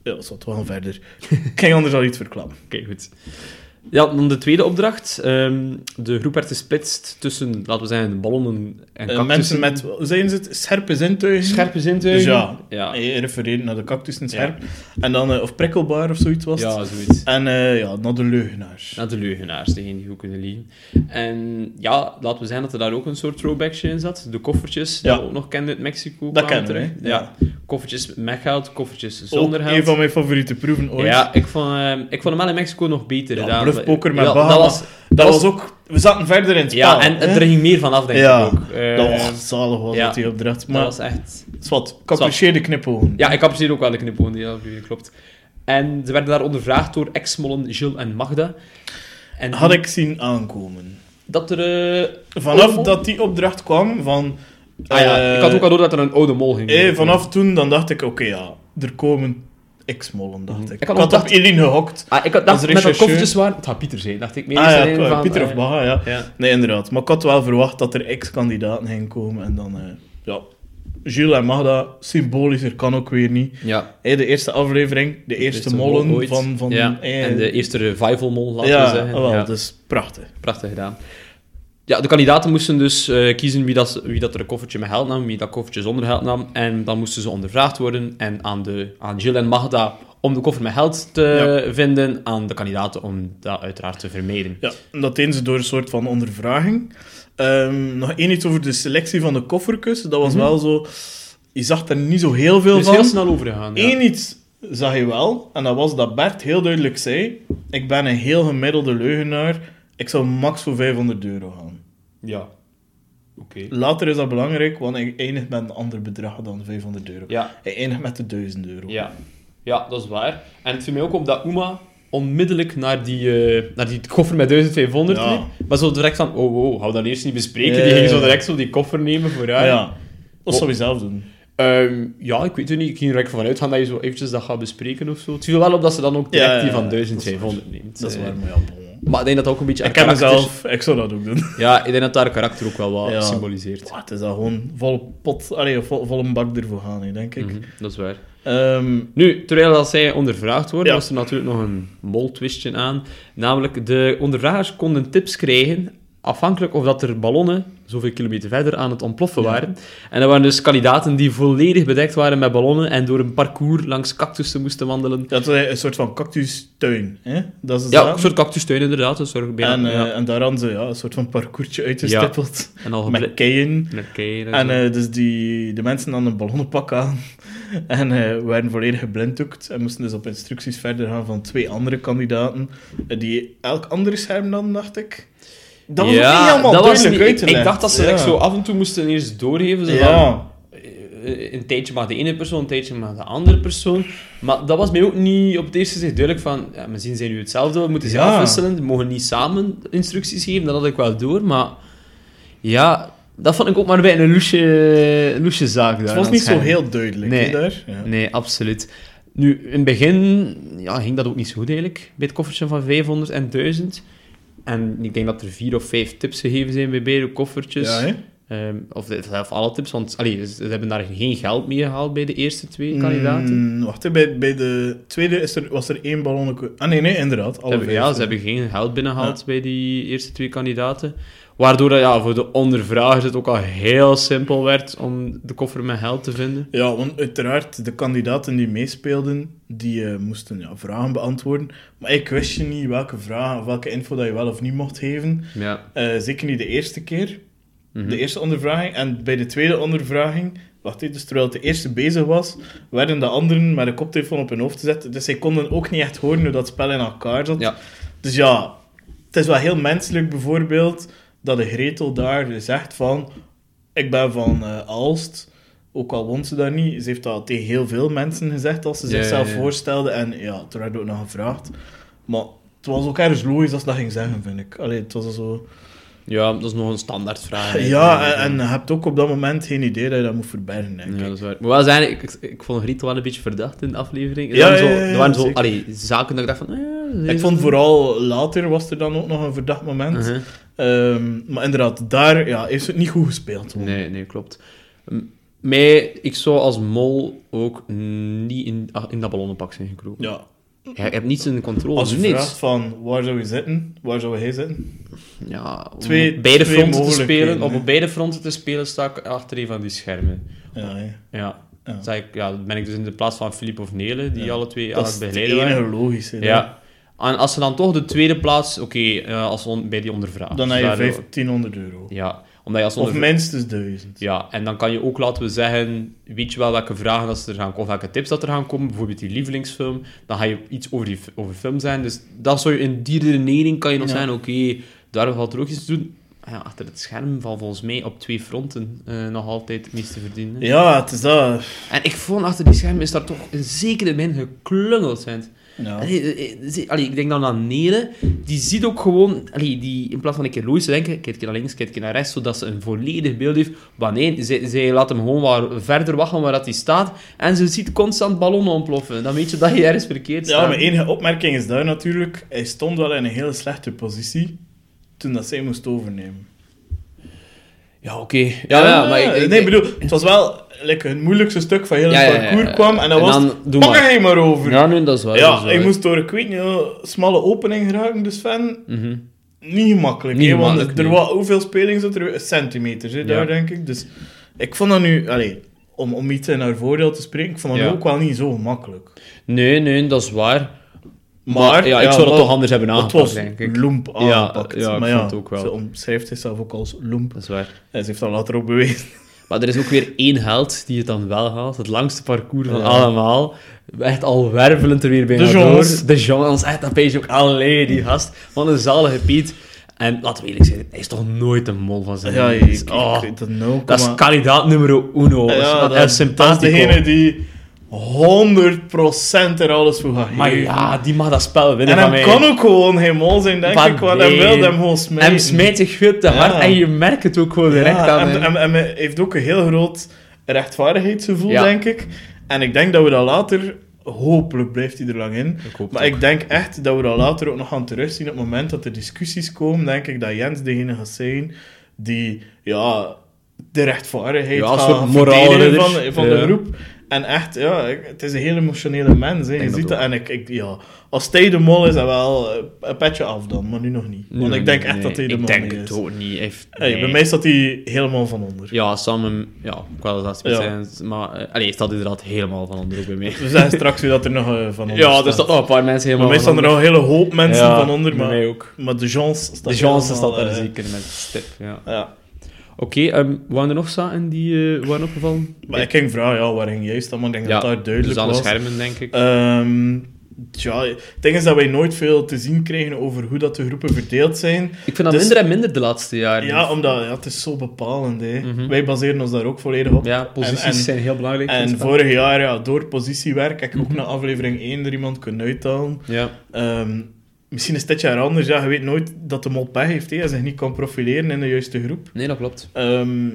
S2: Ja, dat zat wel verder. *laughs* Ik kan je anders al iets verklappen.
S1: Oké, goed. Ja, dan de tweede opdracht. Ehm, de groep werd gesplitst tussen, laten we zeggen, ballonnen en
S2: Eh,
S1: cactussen.
S2: mensen met, hoe zijn ze het? Scherpe zintuigen.
S1: scherpe zintuigen.
S2: Dus ja,
S1: Ja,
S2: je refereert naar de cactussen scherp. En dan, eh, of prikkelbaar of zoiets was het.
S1: ja zoiets.
S2: En eh, ja, naar de leugenaars.
S1: Naar de leugenaars, degene die goed kunnen liegen. En ja, laten we zeggen dat er daar ook een soort throwbackje in zat. De koffertjes, die
S2: Ja.
S1: we ook nog kenden uit Mexico.
S2: Dat
S1: kwamen
S2: kennen we,
S1: terug.
S2: hè?
S1: Ja. Koffertjes met geld, koffertjes
S2: Ook
S1: zonder
S2: een
S1: geld.
S2: van mijn favoriete proeven ooit.
S1: Ja, ik vond, ehm, ik vond hem wel in Mexico nog beter
S2: Ja,
S1: gedaan.
S2: bluffpoker met
S1: Ja,
S2: Bahama.
S1: Dat was,
S2: dat was ook... We zaten verder in het spel.
S1: ja, en het-
S2: hè?
S1: er ging meer van af, denk ik
S2: Ja.
S1: ook. Eh,
S2: Dat was zalig was
S1: ja.
S2: dat die opdracht.
S1: dat
S2: Maar
S1: was echt...
S2: zwart, capucheerde knipogen.
S1: Ja, ik apprecieer ook wel de knipoog die dat klopt. En ze werden daar ondervraagd door ex-mollen Gilles en Magda. En
S2: Had ik zien aankomen.
S1: Dat er... eh,
S2: Vanaf
S1: Omo?
S2: dat die opdracht kwam van...
S1: ah ja,
S2: eh,
S1: ik had ook al door dat er een oude mol ging.
S2: eh, vanaf toen dan dacht ik, oké ja, er komen x-mollen, dacht ik.
S1: Mhm. Ik had
S2: Ik
S1: nog
S2: had, op
S1: gedacht-
S2: Elin gehokt.
S1: Ah, ik had dacht,
S2: Als
S1: met dat
S2: rechercheur-
S1: koffertjes waren... Het gaat Pieter zijn, dacht ik. Meer
S2: Ah
S1: is
S2: ja,
S1: er een
S2: qua-
S1: van,
S2: Pieter
S1: eh,
S2: of Baga, ja.
S1: Ja.
S2: Nee, inderdaad. Maar ik had wel verwacht dat er x-kandidaten gingen komen. En dan, eh, ja, Gilles en Magda, symbolischer kan ook weer niet.
S1: ja.
S2: Eh, de eerste aflevering, de eerste mollen
S1: ooit.
S2: van... van
S1: ja.
S2: eh,
S1: En de eerste revival mol, laten we
S2: ja,
S1: zeggen.
S2: wel,
S1: ja.
S2: dus prachtig.
S1: Prachtig gedaan. Ja, de kandidaten moesten dus eh, kiezen wie dat, wie dat er een koffertje met geld nam, wie dat koffertje zonder geld nam. En dan moesten ze ondervraagd worden en aan, de, aan Jill en Magda om de koffer met geld te vinden, aan de kandidaten om dat uiteraard te vermijden.
S2: Ja, en dat deden ze door een soort van ondervraging. Ehm, nog één iets over de selectie van de kofferkus. Dat
S1: Mhm.
S2: was wel zo... Je zag er niet zo heel veel
S1: Er is
S2: van.
S1: Dus heel snel overgegaan. Ja.
S2: Eén iets zag je wel, en dat was dat Bert heel duidelijk zei... Ik ben een heel gemiddelde leugenaar. Ik zou max voor 500 euro gaan.
S1: Ja. Oké.
S2: Later is dat belangrijk, want ik eindig met een ander bedrag dan 500 euro.
S1: Ja,
S2: Hij eindigt met de 1000 euro.
S1: ja. ja, dat is waar. En het viel mij ook op dat Uma onmiddellijk naar die, eh, naar die koffer met 1500
S2: Ja.
S1: liep. Maar zo direct van, oh wow, hou dat eerst niet bespreken.
S2: Ja,
S1: Die
S2: ja,
S1: ging zo
S2: ja.
S1: direct zo die koffer nemen voor
S2: Ja.
S1: haar.
S2: Dat zou je zelf doen.
S1: Ehm, ja, ik weet het niet. Ik ging er eigenlijk vanuit gaan dat je zo eventjes dat gaat bespreken of zo. Het viel wel op dat ze dan ook direct
S2: Ja, ja,
S1: die van
S2: ja.
S1: 1500 neemt.
S2: Dat is
S1: Eh,
S2: waar, maar ja, bon.
S1: Maar ik denk dat dat ook een beetje...
S2: Ik
S1: haar
S2: ken
S1: karakter-
S2: mezelf, ik zou dat ook doen. *laughs*
S1: Ja, ik denk dat haar karakter ook wel wat
S2: Ja.
S1: symboliseert.
S2: Ja, het is al gewoon vol pot, allee, vol, vol een bak ervoor gaan, hè, denk ik.
S1: Mhm, dat is waar.
S2: Ehm,
S1: Nu, terwijl dat zij ondervraagd worden,
S2: Ja.
S1: was er natuurlijk nog een moltwistje aan. Namelijk, de ondervragers konden tips krijgen, afhankelijk of dat er ballonnen zoveel kilometer verder aan het ontploffen
S2: Ja.
S1: waren. En dat waren dus kandidaten die volledig bedekt waren met ballonnen en door een parcours langs cactussen moesten wandelen.
S2: dat is een soort van cactustuin. Hè? Dat is
S1: Ja,
S2: dat.
S1: een soort cactustuin inderdaad. Dat zorg bijna,
S2: en, eh,
S1: ja.
S2: en daar hadden ze ja, een soort van parcoursje uitgestippeld. *laughs*
S1: en al
S2: Met
S1: geblit.
S2: keien.
S1: Met keien en
S2: En
S1: zo.
S2: eh, dus die, de mensen hadden een ballonnenpak aan. *laughs* En eh werden volledig geblinddoekt. En moesten dus op instructies verder gaan van twee andere kandidaten. eh, die elk andere scherm dan, dacht ik. Dat was ook niet helemaal
S1: dat was
S2: duidelijk
S1: niet-
S2: uit te
S1: Ik
S2: leggen.
S1: dacht dat ze
S2: Ja.
S1: like, zo af en toe moesten eerst doorgeven. Zo van,
S2: Ja.
S1: eh, een tijdje mag de ene persoon, een tijdje mag de andere persoon. Maar dat was mij ook niet op het eerste gezicht duidelijk van, ja, misschien zijn nu hetzelfde, we moeten ze
S2: Ja.
S1: afwisselen, we mogen niet samen instructies geven, dat had ik wel door, maar ja, dat vond ik ook maar bij een loesje, loesje zaak.
S2: Het was niet zo heel duidelijk.
S1: Nee.
S2: hè, daar. Ja.
S1: Nee, absoluut. Nu, in het begin ja, ging dat ook niet zo goed eigenlijk, bij het koffertje van 500 en 1000. En ik denk dat er vier of vijf tips gegeven zijn bij beide koffertjes.
S2: Ja, hè?
S1: Ehm, of de- zelf alle tips, want allee, ze, ze hebben daar geen geld mee gehaald bij de eerste twee kandidaten.
S2: Mm, wacht, hè, bij, bij de tweede is er, was er één ballonnetje. Ah nee, nee, inderdaad.
S1: Ze
S2: Alle
S1: hebben,
S2: vijf.
S1: ja, ze hebben geen geld binnengehaald bij die eerste twee kandidaten. Waardoor dat, ja, voor de ondervragers het ook al heel simpel werd om de koffer met geld te vinden.
S2: Ja, want uiteraard, de kandidaten die meespeelden, die eh, moesten ja, vragen beantwoorden. Maar ik wist je niet welke vragen, of welke info dat je wel of niet mocht geven.
S1: Ja.
S2: Eh, zeker niet de eerste keer.
S1: Mhm.
S2: De eerste ondervraging. En bij de tweede ondervraging, wacht even, dus terwijl de eerste bezig was, werden de anderen met een koptelefoon op hun hoofd gezet. Dus zij konden ook niet echt horen hoe dat spel in elkaar zat.
S1: Ja.
S2: Dus ja, het is wel heel menselijk bijvoorbeeld dat de Gretel daar zegt van... Ik ben van eh, Aalst, ook al woont ze daar niet. Ze heeft dat tegen heel veel mensen gezegd als ze
S1: Ja,
S2: zichzelf
S1: ja, ja.
S2: voorstelde. En ja, toen werd ook nog gevraagd. Maar het was ook ergens logisch dat ze dat ging zeggen, vind ik. Allee, het was al zo...
S1: ja, dat is nog een standaardvraag. hè.
S2: Ja, en, en je hebt ook op dat moment geen idee dat je dat moet verbergen, denk ik.
S1: Ja, dat is waar. Maar wel zijn, ik, ik, ik vond Griet wel een beetje verdacht in de aflevering. Er
S2: Ja,
S1: waren zo,
S2: ja, ja, ja,
S1: er waren zo
S2: zeker.
S1: allee, zaken dat ik dacht van... eh,
S2: Ik vond vooral later was er dan ook nog een verdacht moment.
S1: Mhm.
S2: Ehm, maar inderdaad, daar ja, heeft ze het niet goed gespeeld. hoor.
S1: Nee, nee, klopt. M- Mij, ik zou als mol ook niet in, ah, in dat ballonnenpak zijn gekropen.
S2: Ja.
S1: Je hebt niets in de controle,
S2: Als je
S1: niets.
S2: vraagt van waar zou je zitten, waar zou hij zitten?
S1: Ja, om
S2: Twee-
S1: op beide
S2: twee
S1: fronten te
S2: mogelijkheden,
S1: spelen, om
S2: hè.
S1: op beide fronten te spelen, sta ik achter een van die schermen.
S2: Ja, hè.
S1: Ja.
S2: Ja.
S1: Zeg ik, ja, dan ben ik dus in de plaats van Filip of Nele, die
S2: Ja.
S1: alle twee aan het
S2: dat is het
S1: begeleiden
S2: enige
S1: waren.
S2: logische. hè.
S1: Ja. En als ze dan toch de tweede plaats, oké, eh, als on- bij die ondervraag.
S2: Dan heb je 1500 euro.
S1: Ja, omdat je als
S2: Of
S1: ondervraag...
S2: minstens 1000.
S1: Ja, en dan kan je ook laten we zeggen, weet je wel welke vragen dat ze er gaan komen, of welke tips dat er gaan komen, bijvoorbeeld die lievelingsfilm, dan ga je iets over die f- over film zijn. Dus dan zou je in die redenering kan je nog
S2: Ja.
S1: zijn, oké, daar valt er ook iets te doen. Ah Ja, achter het scherm valt volgens mij op twee fronten eh, nog altijd het meeste verdienen.
S2: Ja, het is dat.
S1: En ik vond achter die scherm is daar toch een zekere min geklungeld zijn.
S2: Ja.
S1: Allee, eh, eh, zie- allee, ik denk dan aan Nere. Die ziet ook gewoon... Allee, die, in plaats van een keer logisch te denken, kijkt hij naar links, kijkt hij naar rechts, zodat ze een volledig beeld heeft. Maar nee, zij, zij laat hem gewoon waar, verder wachten waar dat hij staat. En ze ziet constant ballonnen ontploffen. Dan weet je dat je ergens verkeerd staat.
S2: Ja, mijn enige opmerking is daar natuurlijk. Hij stond wel in een hele slechte positie toen dat zij moest overnemen.
S1: Ja, oké. Ja, ja, maar ik, ik-
S2: nee, bedoel, het was wel like, het moeilijkste stuk van heel het
S1: Ja, ja, ja,
S2: parcours
S1: ja.
S2: kwam. En dat
S1: En
S2: was,
S1: dan
S2: het,
S1: doe
S2: pak
S1: maar.
S2: er je maar over. Ja,
S1: Ja, nee, dat is waar. dat is waar.
S2: ik moest door, ik weet niet, een smalle opening geraken. Dus Sven,
S1: Mhm.
S2: niet gemakkelijk.
S1: Niet
S2: hè, want
S1: gemakkelijk,
S2: er
S1: nee.
S2: was hoeveel speling zat er? Centimeters, hè, daar
S1: Ja.
S2: denk ik. Dus ik vond dat nu, allee, om, om iets in haar voordeel te spreken, ik vond dat
S1: Ja.
S2: nu ook wel niet zo gemakkelijk.
S1: Nee, nee, dat is waar.
S2: Maar,
S1: ja, ik zou dat
S2: wel-
S1: toch anders hebben
S2: Het
S1: aangepakt,
S2: was
S1: denk ik.
S2: loemp aangepakt.
S1: ja, ik
S2: maar
S1: vond
S2: ja,
S1: het ook wel.
S2: ze omschrijft zichzelf ook als
S1: *laughs*
S2: loemp.
S1: Dat is waar.
S2: En ze heeft dat later ook bewezen.
S1: Maar er is ook weer één held die het dan wel haalt. Het langste parcours van
S2: Ja.
S1: allemaal. Echt al wervelend er weer bijna
S2: De Jons.
S1: door. De Jons. Echt, dat pees je ook alleen die gast. Van een zalige Piet. En laten we eerlijk zijn, hij is toch nooit een mol van zijn
S2: Ja, ik,
S1: leven.
S2: ik,
S1: Oh,
S2: ik weet nou, dat nul,
S1: dat is
S2: komma-
S1: kandidaat nummer uno.
S2: Ja,
S1: dat, is
S2: dat is
S1: sympathico.
S2: degene die 100% er alles voor gaat
S1: Maar
S2: geven.
S1: ja, die mag dat spel winnen
S2: en
S1: van
S2: hem
S1: mij.
S2: kan ook gewoon geen mol zijn, denk
S1: Maar
S2: ik, want hij
S1: nee.
S2: wil hem gewoon smijten.
S1: Hem smijt zich veel te hard
S2: Ja.
S1: en je merkt het ook gewoon direct
S2: Ja,
S1: aan
S2: en,
S1: hem.
S2: en- en hij heeft ook een heel groot rechtvaardigheidsgevoel,
S1: Ja.
S2: denk ik. En ik denk dat we dat later... Hopelijk blijft hij er lang in.
S1: Ik hoop
S2: Maar
S1: het
S2: ik denk echt dat we dat later ook nog gaan terugzien. Op het moment dat er discussies komen, denk ik dat Jens degene gaat zijn die ja, de rechtvaardigheid
S1: Ja, een
S2: gaat
S1: soort moraalridder.
S2: verdedigen van, van de
S1: Ja.
S2: groep. En echt, ja, ik- het is een heel emotionele mens. Hè. Je
S1: denk dat
S2: ziet dat.
S1: ook.
S2: En ik, ik, ja, als Tij de Mol is, dan wel eh, een petje af dan, maar nu nog niet. Want
S1: Nee,
S2: ik denk
S1: nee,
S2: echt dat
S1: nee.
S2: Tij de Mol
S1: Ik denk
S2: niet
S1: het
S2: is.
S1: ook niet. Hij Heeft,
S2: Hey, bij
S1: nee.
S2: mij staat hij helemaal van onder.
S1: Ja, samen... Ja, ik wou dat
S2: Ja.
S1: niet zeggen, maar... eh, allee, hij staat inderdaad helemaal van onder ook bij mij.
S2: *laughs* We zeggen straks weer dat er nog eh, van onder
S1: Ja, er
S2: staat.
S1: staat nog een paar mensen
S2: Bij
S1: helemaal
S2: mij staan er al een hele hoop mensen
S1: Ja,
S2: van onder,
S1: bij
S2: maar,
S1: mij ook.
S2: maar de chance staat
S1: De chance
S2: helemaal,
S1: staat er
S2: eh,
S1: zeker met stip, ja.
S2: Ja.
S1: Oké, ehm, waren er nog zaken die eh waren opgevallen?
S2: Maar ik ging vragen, ja, waar ging jij staan? Maar ik denk dat dat duidelijk
S1: dus aan de
S2: was.
S1: schermen, denk ik.
S2: Ehm, tja, het ding is dat wij nooit veel te zien krijgen over hoe dat de groepen verdeeld zijn.
S1: ik vind dat
S2: dus-
S1: minder en minder de laatste jaren.
S2: Ja, omdat ja, het is zo bepalend. Hè.
S1: dus- Mhm.
S2: Wij baseren ons daar ook volledig op.
S1: Ja, posities
S2: en-
S1: zijn heel belangrijk. in het
S2: En
S1: spel.
S2: vorig jaar, ja, door positiewerk, heb ik
S1: Mhm.
S2: ook na aflevering 1 er iemand kunnen uithalen.
S1: Ja,
S2: Ehm, misschien is dit jaar anders. Ja, je weet nooit dat de mol pech heeft. Hè. Hij zich niet kan profileren in de juiste groep.
S1: nee, dat klopt.
S2: Ehm,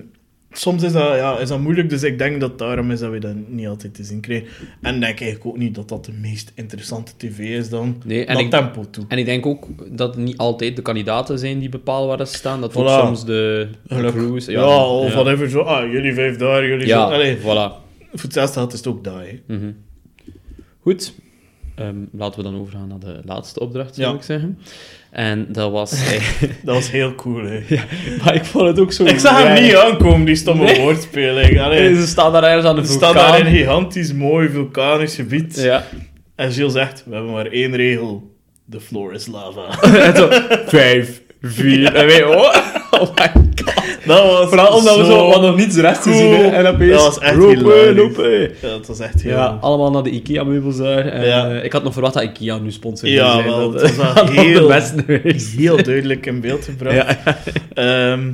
S2: soms is dat, ja, is dat moeilijk, dus ik denk dat daarom is dat we dat niet altijd te zien krijgen. En denk eigenlijk ook niet dat dat de meest interessante tv is dan.
S1: Nee, en
S2: naar
S1: ik-
S2: tempo toe.
S1: En ik denk ook dat het niet altijd de kandidaten zijn die bepalen waar ze staan. Dat ook
S2: Voilà.
S1: soms de, de
S2: Geluk.
S1: crews...
S2: ja, of whatever. Zo, ah, jullie vijf daar, jullie
S1: Ja,
S2: zo. Allee,
S1: voilà.
S2: voor hetzelfde geld is het ook daar. hè.
S1: Mhm. Goed. Ehm, laten we dan overgaan naar de laatste opdracht, zou
S2: Ja.
S1: ik zeggen. En dat was... *laughs*
S2: Dat was heel cool, hè.
S1: maar ik vond het ook zo...
S2: Ik zag
S1: raar.
S2: hem niet aankomen, die stomme
S1: Nee.
S2: woordspeling. Allee,
S1: Ze staan daar ergens aan de
S2: we
S1: vulkaan.
S2: staan daar in een gigantisch mooi vulkanisch gebied.
S1: Ja. *laughs*
S2: En Gilles zegt, we hebben maar één regel. The floor is lava. *laughs*
S1: En zo, vijf, vier, en wij, oh, *laughs* oh my god.
S2: Dat was
S1: Vooral omdat we zo wat nog niets rechts
S2: cool.
S1: zien hè, en opeens,
S2: Dat was echt
S1: roepen,
S2: hilarisch.
S1: roepen.
S2: Ja, dat was echt heel...
S1: Ja, allemaal naar de IKEA-meubels daar. En,
S2: Ja.
S1: eh, ik had nog verwacht dat IKEA nu sponsor
S2: Ja,
S1: zou zijn. *laughs*
S2: wel,
S1: dat
S2: het was wel
S1: had nog
S2: heel-
S1: de beste geweest.
S2: heel duidelijk in beeld gebracht.
S1: Ja.
S2: Ehm,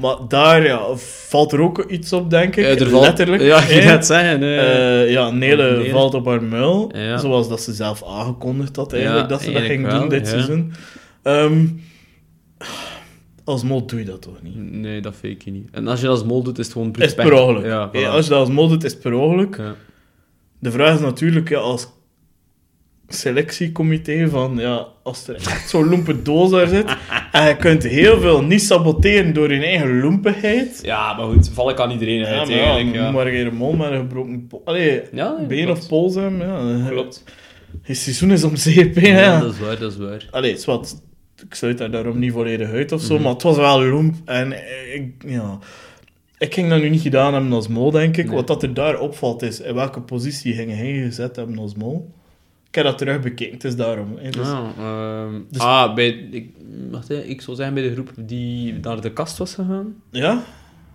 S2: maar daar ja, valt er ook iets op, denk ik.
S1: Eh, er valt-
S2: Letterlijk.
S1: Ja, ik
S2: hè.
S1: ging net zeggen. eh.
S2: Eh, ja, Nele
S1: Nele.
S2: valt op haar muil.
S1: Ja.
S2: Zoals dat ze zelf aangekondigd had, eigenlijk,
S1: Ja,
S2: dat ze dat ging
S1: eigenlijk
S2: doen
S1: wel,
S2: dit
S1: ja.
S2: seizoen. Ehm, als mol doe je dat toch niet?
S1: Nee, dat fake je niet. En als je dat als mol doet, is het gewoon
S2: Is per
S1: pech.
S2: ongeluk.
S1: Ja, voilà.
S2: Eh, Als je dat als mol doet, is het per ongeluk.
S1: Ja.
S2: De vraag is natuurlijk, ja, als selectiecomité van, ja, als er echt zo'n loempe doos daar
S1: *laughs*
S2: zit, en je kunt heel veel niet saboteren door je eigen loempigheid,
S1: Ja, maar goed, val ik aan iedereen
S2: ja,
S1: uit,
S2: maar ja,
S1: eigenlijk. Ja.
S2: maar geen mol met een gebroken po- Allee,
S1: Ja, nee,
S2: been
S1: klopt.
S2: of pols hem, ja. *laughs*
S1: Klopt.
S2: Het seizoen is om zeep, hè,
S1: Ja,
S2: ja.
S1: dat is waar, dat is waar.
S2: Allee, zwart, ik sluit daar daarom niet volledig uit of zo,
S1: Mhm.
S2: maar het was wel loemp en ik, ja... Ik ging dat nu niet gedaan hebben als mol, denk ik.
S1: Nee.
S2: Wat dat er daar opvalt is, in welke positie ging hij gezet hebben als mol? Ik heb dat terugbekeken, het is daarom. hè, dus-
S1: Ah, ehm,
S2: Dus-
S1: ah, bij, ik, wacht, hè, ik zou zijn bij de groep die naar de kast was gegaan.
S2: Ja?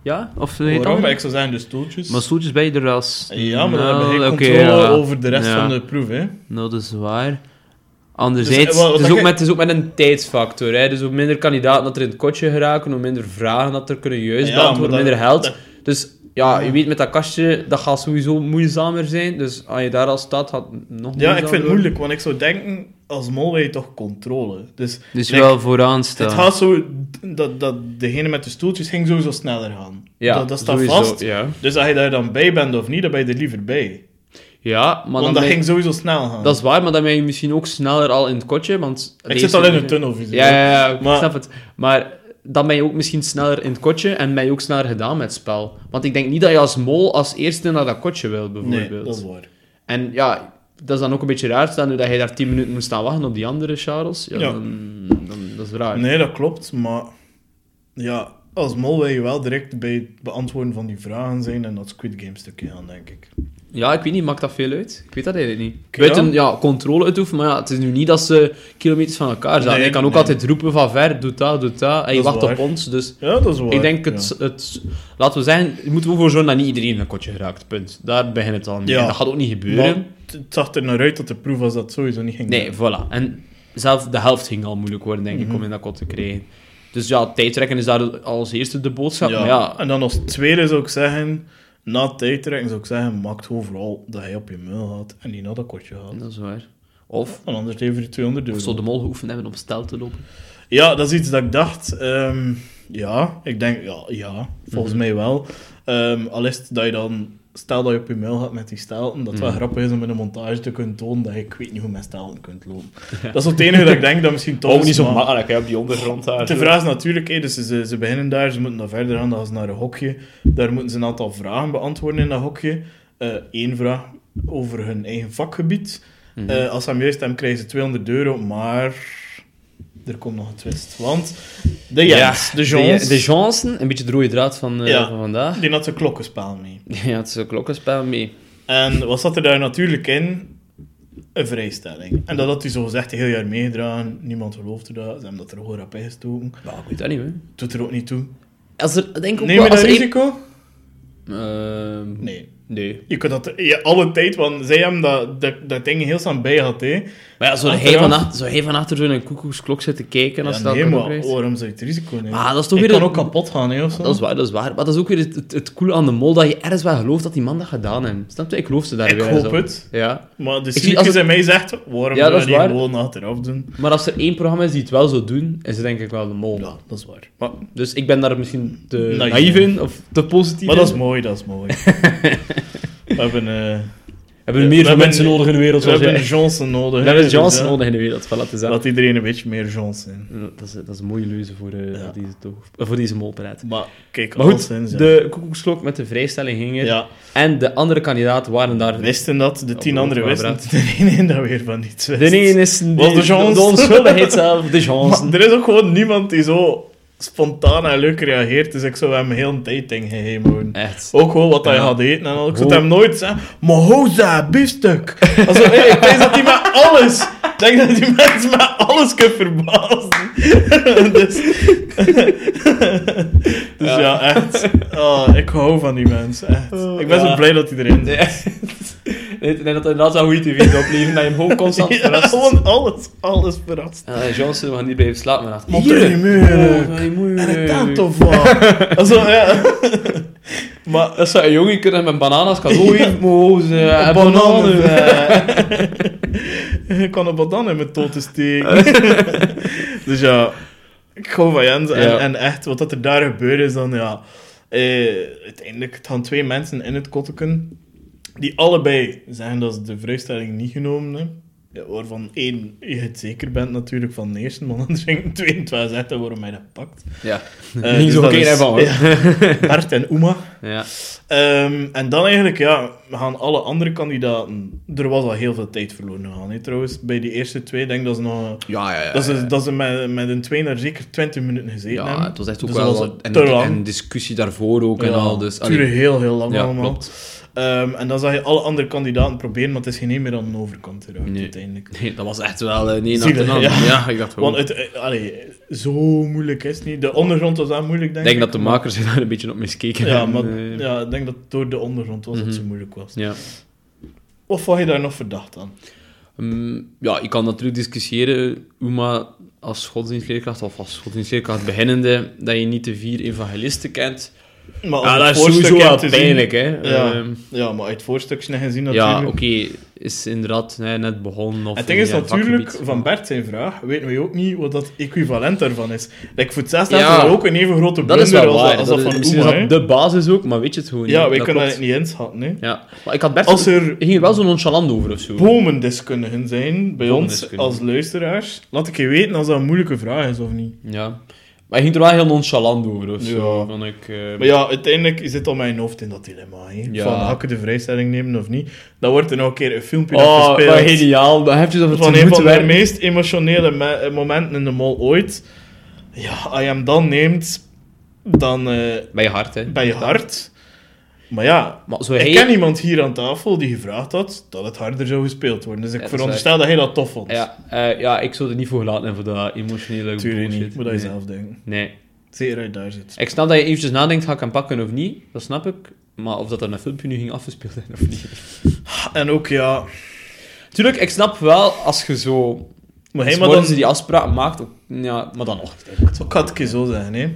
S1: Ja? Of heet dat?
S2: Waarom? Ik zou zijn de stoeltjes.
S1: Maar stoeltjes bij de ras.
S2: Ja, maar dan
S1: Nou,
S2: heb je geen
S1: oké,
S2: controle
S1: ja.
S2: over de rest
S1: Ja.
S2: van de proef, hè.
S1: Nou, dat is waar.
S2: Dus,
S1: Anderzijds,
S2: eh, wat- wat
S1: het, is
S2: dat
S1: ook
S2: je-
S1: met, het is ook met een tijdsfactor. Hè? Dus hoe minder kandidaten dat er in het kotje geraken, hoe minder vragen dat er kunnen juist
S2: Ja,
S1: beantwoorden,
S2: maar
S1: hoe
S2: dat-
S1: minder geld.
S2: dat-
S1: Dus ja, je weet met dat kastje, dat gaat sowieso moeizamer zijn. Dus als je daar al staat, gaat het nog
S2: Ja, ik vind het
S1: moeizamer
S2: moeilijk, want ik zou denken, als mol wil je toch controle. Dus,
S1: worden. Dus
S2: like,
S1: wel vooraan staan.
S2: Het gaat zo, dat, dat degene met de stoeltjes ging sowieso sneller gaan.
S1: ja,
S2: dat, dat staat
S1: sowieso,
S2: vast.
S1: Ja,
S2: Dus als je daar dan bij bent of niet, dan ben je er liever bij.
S1: ja maar dan
S2: want dat
S1: ben je-
S2: ging sowieso snel gaan.
S1: Ah. Dat is waar, maar dan ben je misschien ook sneller al in het kotje, want...
S2: ik
S1: deze-
S2: zit al in een tunnelvisie.
S1: Ja, ja, ja, ik
S2: Maar-
S1: snap het. Maar dan ben je ook misschien sneller in het kotje en ben je ook sneller gedaan met het spel. Want ik denk niet dat je als mol als eerste naar dat kotje wil, bijvoorbeeld.
S2: Nee, dat is waar.
S1: En ja, dat is dan ook een beetje raar, staan nu dat je daar 10 minuten moet staan wachten op die andere Charles. Ja,
S2: Ja.
S1: Dan, dan- dat is raar.
S2: Nee, dat klopt, maar... Ja, als mol wil je wel direct bij het beantwoorden van die vragen zijn en dat Squid Game stukje gaan, denk ik.
S1: Ja, ik weet niet, maakt dat veel uit? Ik weet dat eigenlijk niet.
S2: Ja.
S1: Buiten, ja, controle uitoefenen, maar ja, het is nu niet dat ze kilometers van elkaar zijn.
S2: Nee,
S1: je kan ook
S2: nee.
S1: altijd roepen van ver, doe dat, doe dat, en je
S2: Dat is
S1: wacht op
S2: waar.
S1: ons, dus...
S2: Ja, dat is waar.
S1: Ik denk het, het, laten we zeggen, je moet ervoor zorgen dat niet iedereen in een kotje geraakt. Punt. Daar begint het al mee.
S2: Ja.
S1: En dat gaat ook niet
S2: Ja.
S1: gebeuren.
S2: Maar het- het zag er naar uit dat de proef was dat het sowieso niet ging
S1: Nee, voilà. En zelf de helft ging al moeilijk worden, denk
S2: Mhm.
S1: ik, om in dat kot te krijgen. Dus ja, tijdrekken is daar als eerste de boodschap.
S2: Ja.
S1: Maar ja,
S2: En dan als tweede zou ik zeggen, na tijdrekken zou ik zeggen, maakt overal dat hij op je muil had en niet naar dat kortje had.
S1: dat is waar. Of,
S2: Want anders levert je 200
S1: of
S2: euro.
S1: zou de mol geoefend hebben om stel te lopen?
S3: Mhm.
S2: Ja, dat is iets dat ik dacht. ehm, ja, ik denk, ja, ja volgens mij wel. Ehm al is het dat je dan, stel dat je op je muil gaat met die stelten, dat het
S3: Mhm.
S2: wel grappig is om in een montage te kunnen tonen dat je, ik weet niet hoe met stelten kunt lopen. Dat is het enige dat ik denk dat misschien toch
S3: Ook niet zo
S2: maar-
S3: makkelijk hè, op die ondergrond
S1: Ah,
S3: daar.
S2: de
S3: zo.
S2: vraag is natuurlijk, hé, dus ze, ze beginnen daar, ze moeten dan verder aan, dan gaan ze naar een hokje. Daar moeten ze een aantal vragen beantwoorden in dat hokje. Eén vraag over hun eigen vakgebied. Eh, als ze hem juist hebben, krijgen ze 200 euro, maar er komt nog een twist. Want de Jens, de Jons,
S1: De, Johnson, een beetje de rode draad van, eh,
S2: Ja.
S1: van vandaag. *laughs*
S2: die had zijn klokkenspel mee.
S1: Ja, het is een klokkenspel mee.
S2: En wat zat er daar natuurlijk in? Een vrijstelling. En dat had hij zo gezegd een heel jaar meegedragen. Niemand geloofde dat. Ze hebben dat er gewoon rap ingestoken.
S1: Maar ik weet dat niet, hè.
S2: Doet er ook niet toe.
S1: Als er, denk ik ook
S2: Neem
S1: wel, als
S2: je dat
S1: er één-
S2: risico?
S1: Ehm,
S2: Nee.
S1: nee.
S2: Je kunt dat ja, alle tijd, want zij hebben dat, dat, dat ding heel snel bij gehad. Hè.
S1: Maar ja, zou hij
S2: Achteraf-
S1: van, achter, zou hij van achter zo'n koekoeksklok zitten kijken als
S2: Ja,
S1: je dat
S2: nee,
S1: cadeau
S2: maar oh,
S1: krijgt?
S2: waarom zou je het risico nemen?
S1: Ah, dat is toch
S2: Ik
S1: weer
S2: kan
S1: een-
S2: ook kapot gaan, hè, of zo.
S1: Dat is waar, dat is waar. Maar dat is ook weer het, het, het coole aan de mol, dat je ergens wel gelooft dat die man dat gedaan heeft. Snap je? Ik geloof ze daar
S2: Ik
S1: weer
S2: hoop
S1: zo.
S2: het.
S1: Ja.
S2: Maar de
S1: zie-
S2: cynicus
S1: als het-
S2: in mij zegt, waarom
S1: Ja,
S2: zou
S1: dat
S2: je
S1: is
S2: die
S1: waar.
S2: gewoon achteraf doen?
S1: Maar als er één programma is die het wel zo doen, is het denk ik wel de mol.
S2: Ja, dat is waar. Maar,
S1: Dus ik ben daar misschien te
S2: Naïef.
S1: naïef, in, of te positief
S2: maar dat is
S1: in.
S2: mooi, dat is
S1: *laughs*
S2: mooi. we hebben, eh
S1: We hebben
S2: We
S1: meer
S2: hebben-
S1: mensen nodig in de wereld
S2: we
S1: zoals
S2: hebben
S1: jij.
S2: Johnson nodig.
S1: We
S2: hè,
S1: hebben
S2: dus,
S1: Johnson
S2: eh,
S1: nodig in de wereld, voilà, het is dat.
S2: Laat iedereen een beetje meer Johnson.
S1: Dat is, dat is een mooie leuze voor, eh,
S2: Ja.
S1: voor deze, toog- eh, voor deze molpraat.
S2: Maar kijk,
S1: Maar goed,
S2: alleszins, ja.
S1: de koekoeksklok met de vrijstelling ging er.
S2: Ja,
S1: En de andere kandidaten waren daar...
S2: wisten dat, de tien
S1: Ja,
S2: anderen
S1: maar
S2: wisten het. De *laughs* ene dat weer van niets wist.
S1: De een is de,
S2: Was de Johnson.
S1: de onschuldigheid zelf, *laughs* de
S2: Maar
S1: Johnson.
S2: er is ook gewoon niemand die zo spontaan en leuk reageert, dus ik zou hem heel een tijd ding geheim houden.
S1: Echt.
S2: Ook gewoon wat hij
S1: Ja.
S2: had eten en al. Ik zou
S1: Hoe-
S2: hem nooit zeggen, mohoza, biefstuk. Also, hey, ik denk dat hij met alles, ik denk dat die mensen met alles kunnen verbazen. *laughs* dus, *laughs* dus ja. echt. Oh, ik hou van die mensen, echt. Ik ben zo
S1: Oh, Ja.
S2: blij dat hij
S1: *laughs*
S2: erin zit.
S1: Ja. Ik denk dat het inderdaad wel goede tv is opleven, dat je hem *laughs* gewoon constant
S2: Ja,
S1: verrast.
S2: gewoon alles, alles verrast.
S1: Eh, Johnson, we gaan niet blijven slapen vannacht.
S2: Wat doe je moeilijk?
S1: Oh, wat doe je
S2: En het
S1: moeilijk?
S2: tanto van.
S1: *laughs*
S2: Also, ja. maar
S1: Dat zou een jongen kunnen met bananen als cadeau
S2: Ja.
S1: geven. Moze, eh,
S2: bananen.
S1: bananen.
S2: eh. *laughs* ik kan een banan in mijn tot
S1: *laughs*
S2: steken. dus ja, ik hou van Jens. En,
S1: Ja.
S2: en echt, wat dat er daar gebeurt is dan, ja... eh, uiteindelijk, het gaan twee mensen in het kotteken. Die allebei zeggen dat ze de vrijstelling niet genomen hebben. Ja, waarvan één, je het zeker bent natuurlijk van de eerste, maar dan *laughs* drinkt twee en twee zegt waarom hij dat pakt.
S1: Ja.
S2: Eh,
S1: Niet
S2: dus
S1: zo
S2: dat
S1: oké
S2: is-
S1: daarvan, hoor. *laughs*
S2: ja. Bart en Uma.
S1: Ja.
S2: Ehm, en dan eigenlijk, ja, we gaan alle andere kandidaten... Er was al heel veel tijd verloren gegaan, hè, trouwens. Bij die eerste twee, denk ik dat ze nog... eh,
S1: Ja, ja, ja.
S2: dat ze, dat ze met, met een twee naar zeker 20 minuten gezeten hebben.
S1: ja, het was echt ook
S2: Dus dat
S1: wel
S2: was
S1: wat-
S2: te
S1: en,
S2: lang.
S1: en discussie daarvoor ook en
S2: Ja,
S1: al. Dus,
S2: het duurde
S1: allee,
S2: heel, heel lang
S1: Ja,
S2: allemaal. Ehm, en dan zag je alle andere kandidaten proberen, maar het is geen één meer aan de overkant eruit,
S1: Nee.
S2: uiteindelijk.
S1: nee, dat was echt wel eh, nee,
S2: Zielig,
S1: naar de
S2: ja.
S1: ja. ja, ik dacht gewoon.
S2: Want het, eh, allee, zo moeilijk is het niet. De ondergrond was wel moeilijk,
S1: Ik
S2: denk ik.
S1: denk dat de makers *laughs* daar een beetje op miskeken. *laughs*
S2: Ja, maar
S1: hebben, eh.
S2: ja, ik denk dat het door de ondergrond was dat
S1: Mhm.
S2: het zo moeilijk was.
S1: ja.
S2: Of vond je daar nog verdacht aan?
S1: Ehm, ja, je kan natuurlijk discussiëren, Uma, als godsdienstleerkracht of als godsdienstleerkracht beginnende, dat je niet de vier evangelisten kent.
S2: Maar als
S1: Ja,
S2: het
S1: dat is
S2: voorstuk
S1: sowieso wel
S2: hebt te zien-
S1: pijnlijk, hè.
S2: Ja,
S1: Ehm,
S2: ja, maar uit voorstukjes gezien natuurlijk.
S1: ja, oké, is inderdaad nee, net begonnen. Of
S2: het ding is
S1: in je
S2: natuurlijk,
S1: vakgebied.
S2: van Bert zijn vraag, weten we ook niet wat dat equivalent daarvan is. Like, voor het zesde
S1: Ja.
S2: hadden we ook een even grote
S1: Dat
S2: blunder
S1: is wel
S2: als,
S1: waar.
S2: als
S1: dat is-
S2: dat, van
S1: misschien
S2: Oema.
S1: is dat
S2: hè.
S1: de basis ook, maar weet je het gewoon
S2: Ja,
S1: niet.
S2: wij
S1: Dat
S2: kunnen dat
S1: klopt.
S2: niet inschatten. Hè.
S1: Ja, maar ik had Bert...
S2: Als er
S1: ging er wel zo nonchalant over of zo.
S2: bomendeskundigen zijn bij ons
S1: Bomendeskundigen.
S2: als luisteraars, laat ik je weten als dat een moeilijke vraag is of niet.
S1: Ja. Maar hij ging er wel heel nonchalant over of zo,
S2: Ja.
S1: vond ik. eh.
S2: Maar ja, uiteindelijk zit al mijn hoofd in dat dilemma. Hè.
S1: Ja.
S2: Van, ga ik de vrijstelling nemen of niet? Dan wordt er nog een keer een filmpje dat
S1: oh,
S2: gespeeld.
S1: maar geniaal. Dan heb je dat het te
S2: van een
S1: moeten
S2: van mijn
S1: werken.
S2: meest emotionele me- eh, momenten in de mol ooit. Ja, als je hem dan neemt, dan eh,
S1: Bij je hart, hè.
S2: bij je hart. Maar ja,
S1: Maar zo
S2: ik
S1: hij...
S2: ken iemand hier aan tafel die gevraagd had dat het harder zou gespeeld worden. Dus ik
S1: dat is
S2: veronderstel dat hij dat tof vond.
S1: Ja, eh, ja, ik zou er niet voor gelaten hebben voor dat emotionele
S2: Tuurlijk niet,
S1: bullshit.
S2: moet dat je
S1: nee.
S2: zelf denken.
S1: Nee.
S2: Zeker uit daar zit.
S1: Ik snap dat je eventjes nadenkt, ga ik hem pakken of niet? Dat snap ik. Maar of dat er een filmpje nu ging afgespeeld zijn of niet. *laughs*
S2: En ook ja,
S1: Tuurlijk, ik snap wel als je zo...
S2: maar
S1: Als
S2: helemaal
S1: morgens
S2: dan...
S1: die afspraak maakt, ook- ja, maar dan nog.
S2: Ik had het een keer zo zeggen, hè.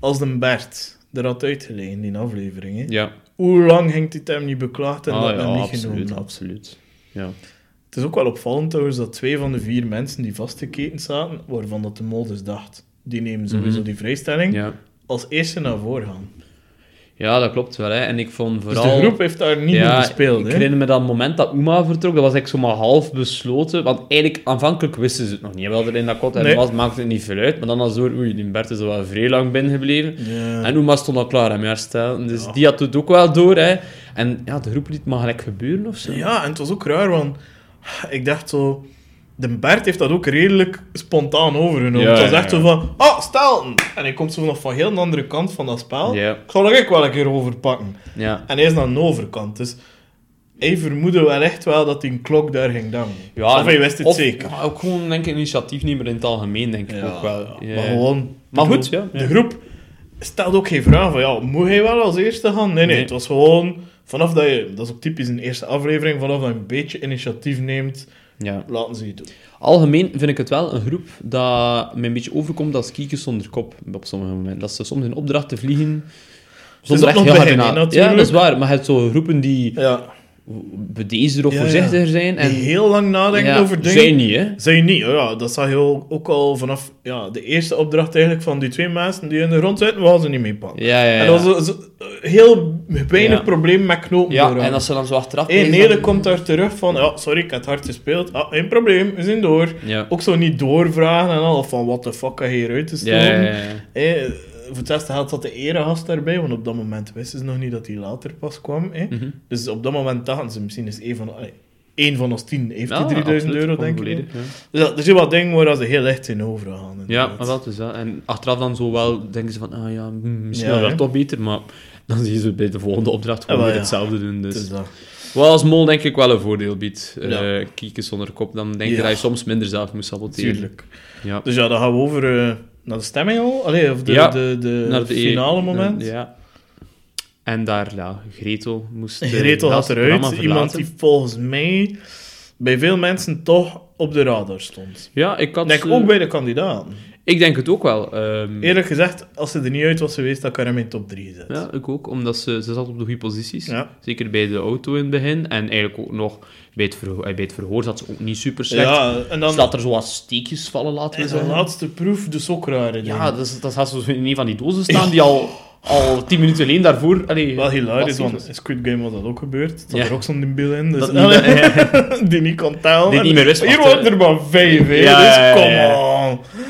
S2: Als de Bert er had uitgelegen, die aflevering, hè.
S1: Ja.
S2: Hoe lang ging hij het hem niet beklaagd en
S1: Ah,
S2: dat
S1: ja,
S2: hem niet genomen
S1: absoluut,
S2: had?
S1: absoluut. Ja.
S2: Het is ook wel opvallend trouwens dat twee van de vier mensen die vastgeketen zaten, waarvan dat de mol dus dacht, die nemen sowieso
S1: Mhm.
S2: die vrijstelling,
S1: Ja.
S2: als eerste naar voren gaan.
S1: Ja, dat klopt wel. Hè. En ik vond
S2: Dus
S1: vooral...
S2: de groep heeft daar niet
S1: ja,
S2: mee gespeeld.
S1: Ik
S2: hè?
S1: herinner me dat moment dat Uma vertrok, dat was ik zomaar half besloten. Want eigenlijk, aanvankelijk wisten ze het nog niet. Wel er in dat kot en
S2: Nee.
S1: was, maakte het niet veel uit. Maar dan als door, oei, die Bert is al wel vrij lang binnengebleven.
S2: Ja.
S1: En Uma stond al klaar hem herstellen. Dus
S2: Ja.
S1: die had het ook wel door. Hè. En ja, de groep liet maar gelijk gebeuren of zo.
S2: Ja, en het was ook raar, want ik dacht zo... De Bert heeft dat ook redelijk spontaan overgenomen.
S1: Ja,
S2: het was
S1: ja,
S2: echt
S1: ja.
S2: zo van, ah, Stelten! En hij komt zo nog van heel een andere kant van dat spel.
S1: Ja.
S2: Ik zal er ook wel een keer overpakken.
S1: Ja.
S2: En hij is aan de overkant, dus... Hij vermoedde wel echt wel dat die klok daar ging dangen. of hij wist het
S1: of-
S2: zeker.
S1: Maar ook gewoon, denk ik, initiatiefnemer in het algemeen, denk ik ook wel. Ja.
S2: Maar gewoon...
S1: Maar
S2: ik
S1: goed,
S2: bedoel,
S1: ja, ja.
S2: De groep stelde ook geen vraag van, ja, moet hij wel als eerste gaan? Nee, nee,
S1: Nee.
S2: het was gewoon... Vanaf dat je... Dat is ook typisch een eerste aflevering. Vanaf dat je een beetje initiatief neemt,
S1: Ja.
S2: laten ze je doen.
S1: Algemeen vind ik het wel een groep dat me een beetje overkomt als kiekers zonder kop op sommige momenten. Dat ze soms in opdracht te vliegen zonder
S2: ook
S1: echt
S2: nog
S1: heel hard
S2: begin,
S1: na-
S2: hè, natuurlijk.
S1: Ja, dat is waar. Maar je hebt zo groepen die
S2: Ja.
S1: bedeesder of
S2: Ja, ja.
S1: voorzichtiger zijn. En
S2: En heel lang nadenken
S1: ja,
S2: over dingen.
S1: Zijn niet, hè?
S2: Zijn niet, hoor. ja. Dat zag je ook ook al vanaf ja, de eerste opdracht eigenlijk van die twee mensen die in de grond zitten, we hadden ze niet mee pakken.
S1: Ja, ja, ja.
S2: En dat was zo- zo- heel weinig
S1: Ja.
S2: probleem met knopen.
S1: ja,
S2: doorhalen.
S1: en als ze dan zo achteraf...
S2: Eén
S1: blijven,
S2: hele
S1: dan-
S2: komt daar terug van, ja, sorry, ik heb het hard gespeeld. Ah, geen probleem, we zijn door.
S1: Ja.
S2: Ook zo niet doorvragen en al, of van, what the fuck, kan je hieruit te stomen?
S1: Ja, ja, ja, ja.
S2: Eh, voor het eerste had zat de eregast daarbij, want op dat moment wisten ze nog niet dat hij later pas kwam. eh.
S1: Mhm.
S2: Dus op dat moment dachten ze, misschien is één van, allee, één van ons tien, heeft
S1: Ja,
S2: hij 3000
S1: absoluut,
S2: euro,
S1: kan
S2: denk ik.
S1: volledig,
S2: nu.
S1: ja.
S2: Dus ja, er zijn wat dingen waar ze heel echt in overgaan.
S1: Ja,
S2: inderdaad.
S1: maar dat is wel. En achteraf dan zo wel denken ze van, ah ja, mm, misschien
S2: Ja,
S1: wel
S2: hè?
S1: toch beter, maar dan zien ze bij de volgende opdracht gewoon
S2: Ah, wel,
S1: weer
S2: ja.
S1: hetzelfde doen.
S2: Het
S1: Dus.
S2: is dat.
S1: Wel als mol denk ik wel een voordeel biedt. Eh
S2: Ja.
S1: kieken zonder kop, dan denk je
S2: Ja.
S1: dat je soms minder zelf moet saboteren.
S2: Tuurlijk.
S1: Ja.
S2: Dus ja, dan gaan we over eh, naar de stemming al. Allee, of de,
S1: Ja,
S2: de, de,
S1: Naar de E-
S2: finale moment.
S1: Ja. En daar, ja, Gretel
S2: *laughs*
S1: moest... eh,
S2: Gretel
S1: dat
S2: had eruit.
S1: programma
S2: Iemand
S1: verlaten.
S2: die volgens mij bij veel mensen toch op de radar stond.
S1: Ja, ik had...
S2: Denk
S1: eh,
S2: ook bij de kandidaten.
S1: Ik denk het ook wel. ehm,
S2: Eerlijk gezegd, als ze er niet uit was geweest, dan kan hij hem in top 3 zetten.
S1: ja, ik ook, omdat ze, ze zat op de goede posities.
S2: Ja.
S1: Zeker bij de auto in het begin. En eigenlijk ook nog bij het verhoor, eh, bij het verhoor zat ze ook niet super slecht.
S2: Ja, en dan
S1: Ze laat er zo wat steekjes vallen, laten we
S2: is de
S1: zeggen.
S2: laatste proef de sokrare.
S1: Ja, dat, is- dat had zo in een van die
S2: *laughs*
S1: dozen staan die al, al tien minuten alleen daarvoor. Allee,
S2: Wel hilarisch,
S1: passief
S2: want
S1: was.
S2: in Squid Game was dat ook gebeurd. Dat
S1: Ja.
S2: er ook zo'n debiel in. Dus, *laughs*
S1: Dat niet meer-
S2: die niet kon tellen.
S1: Die niet meer wist
S2: Hier
S1: wat, eh,
S2: wordt er maar vijf, hè,
S1: Ja, ja, ja,
S2: dus
S1: ja.
S2: come on.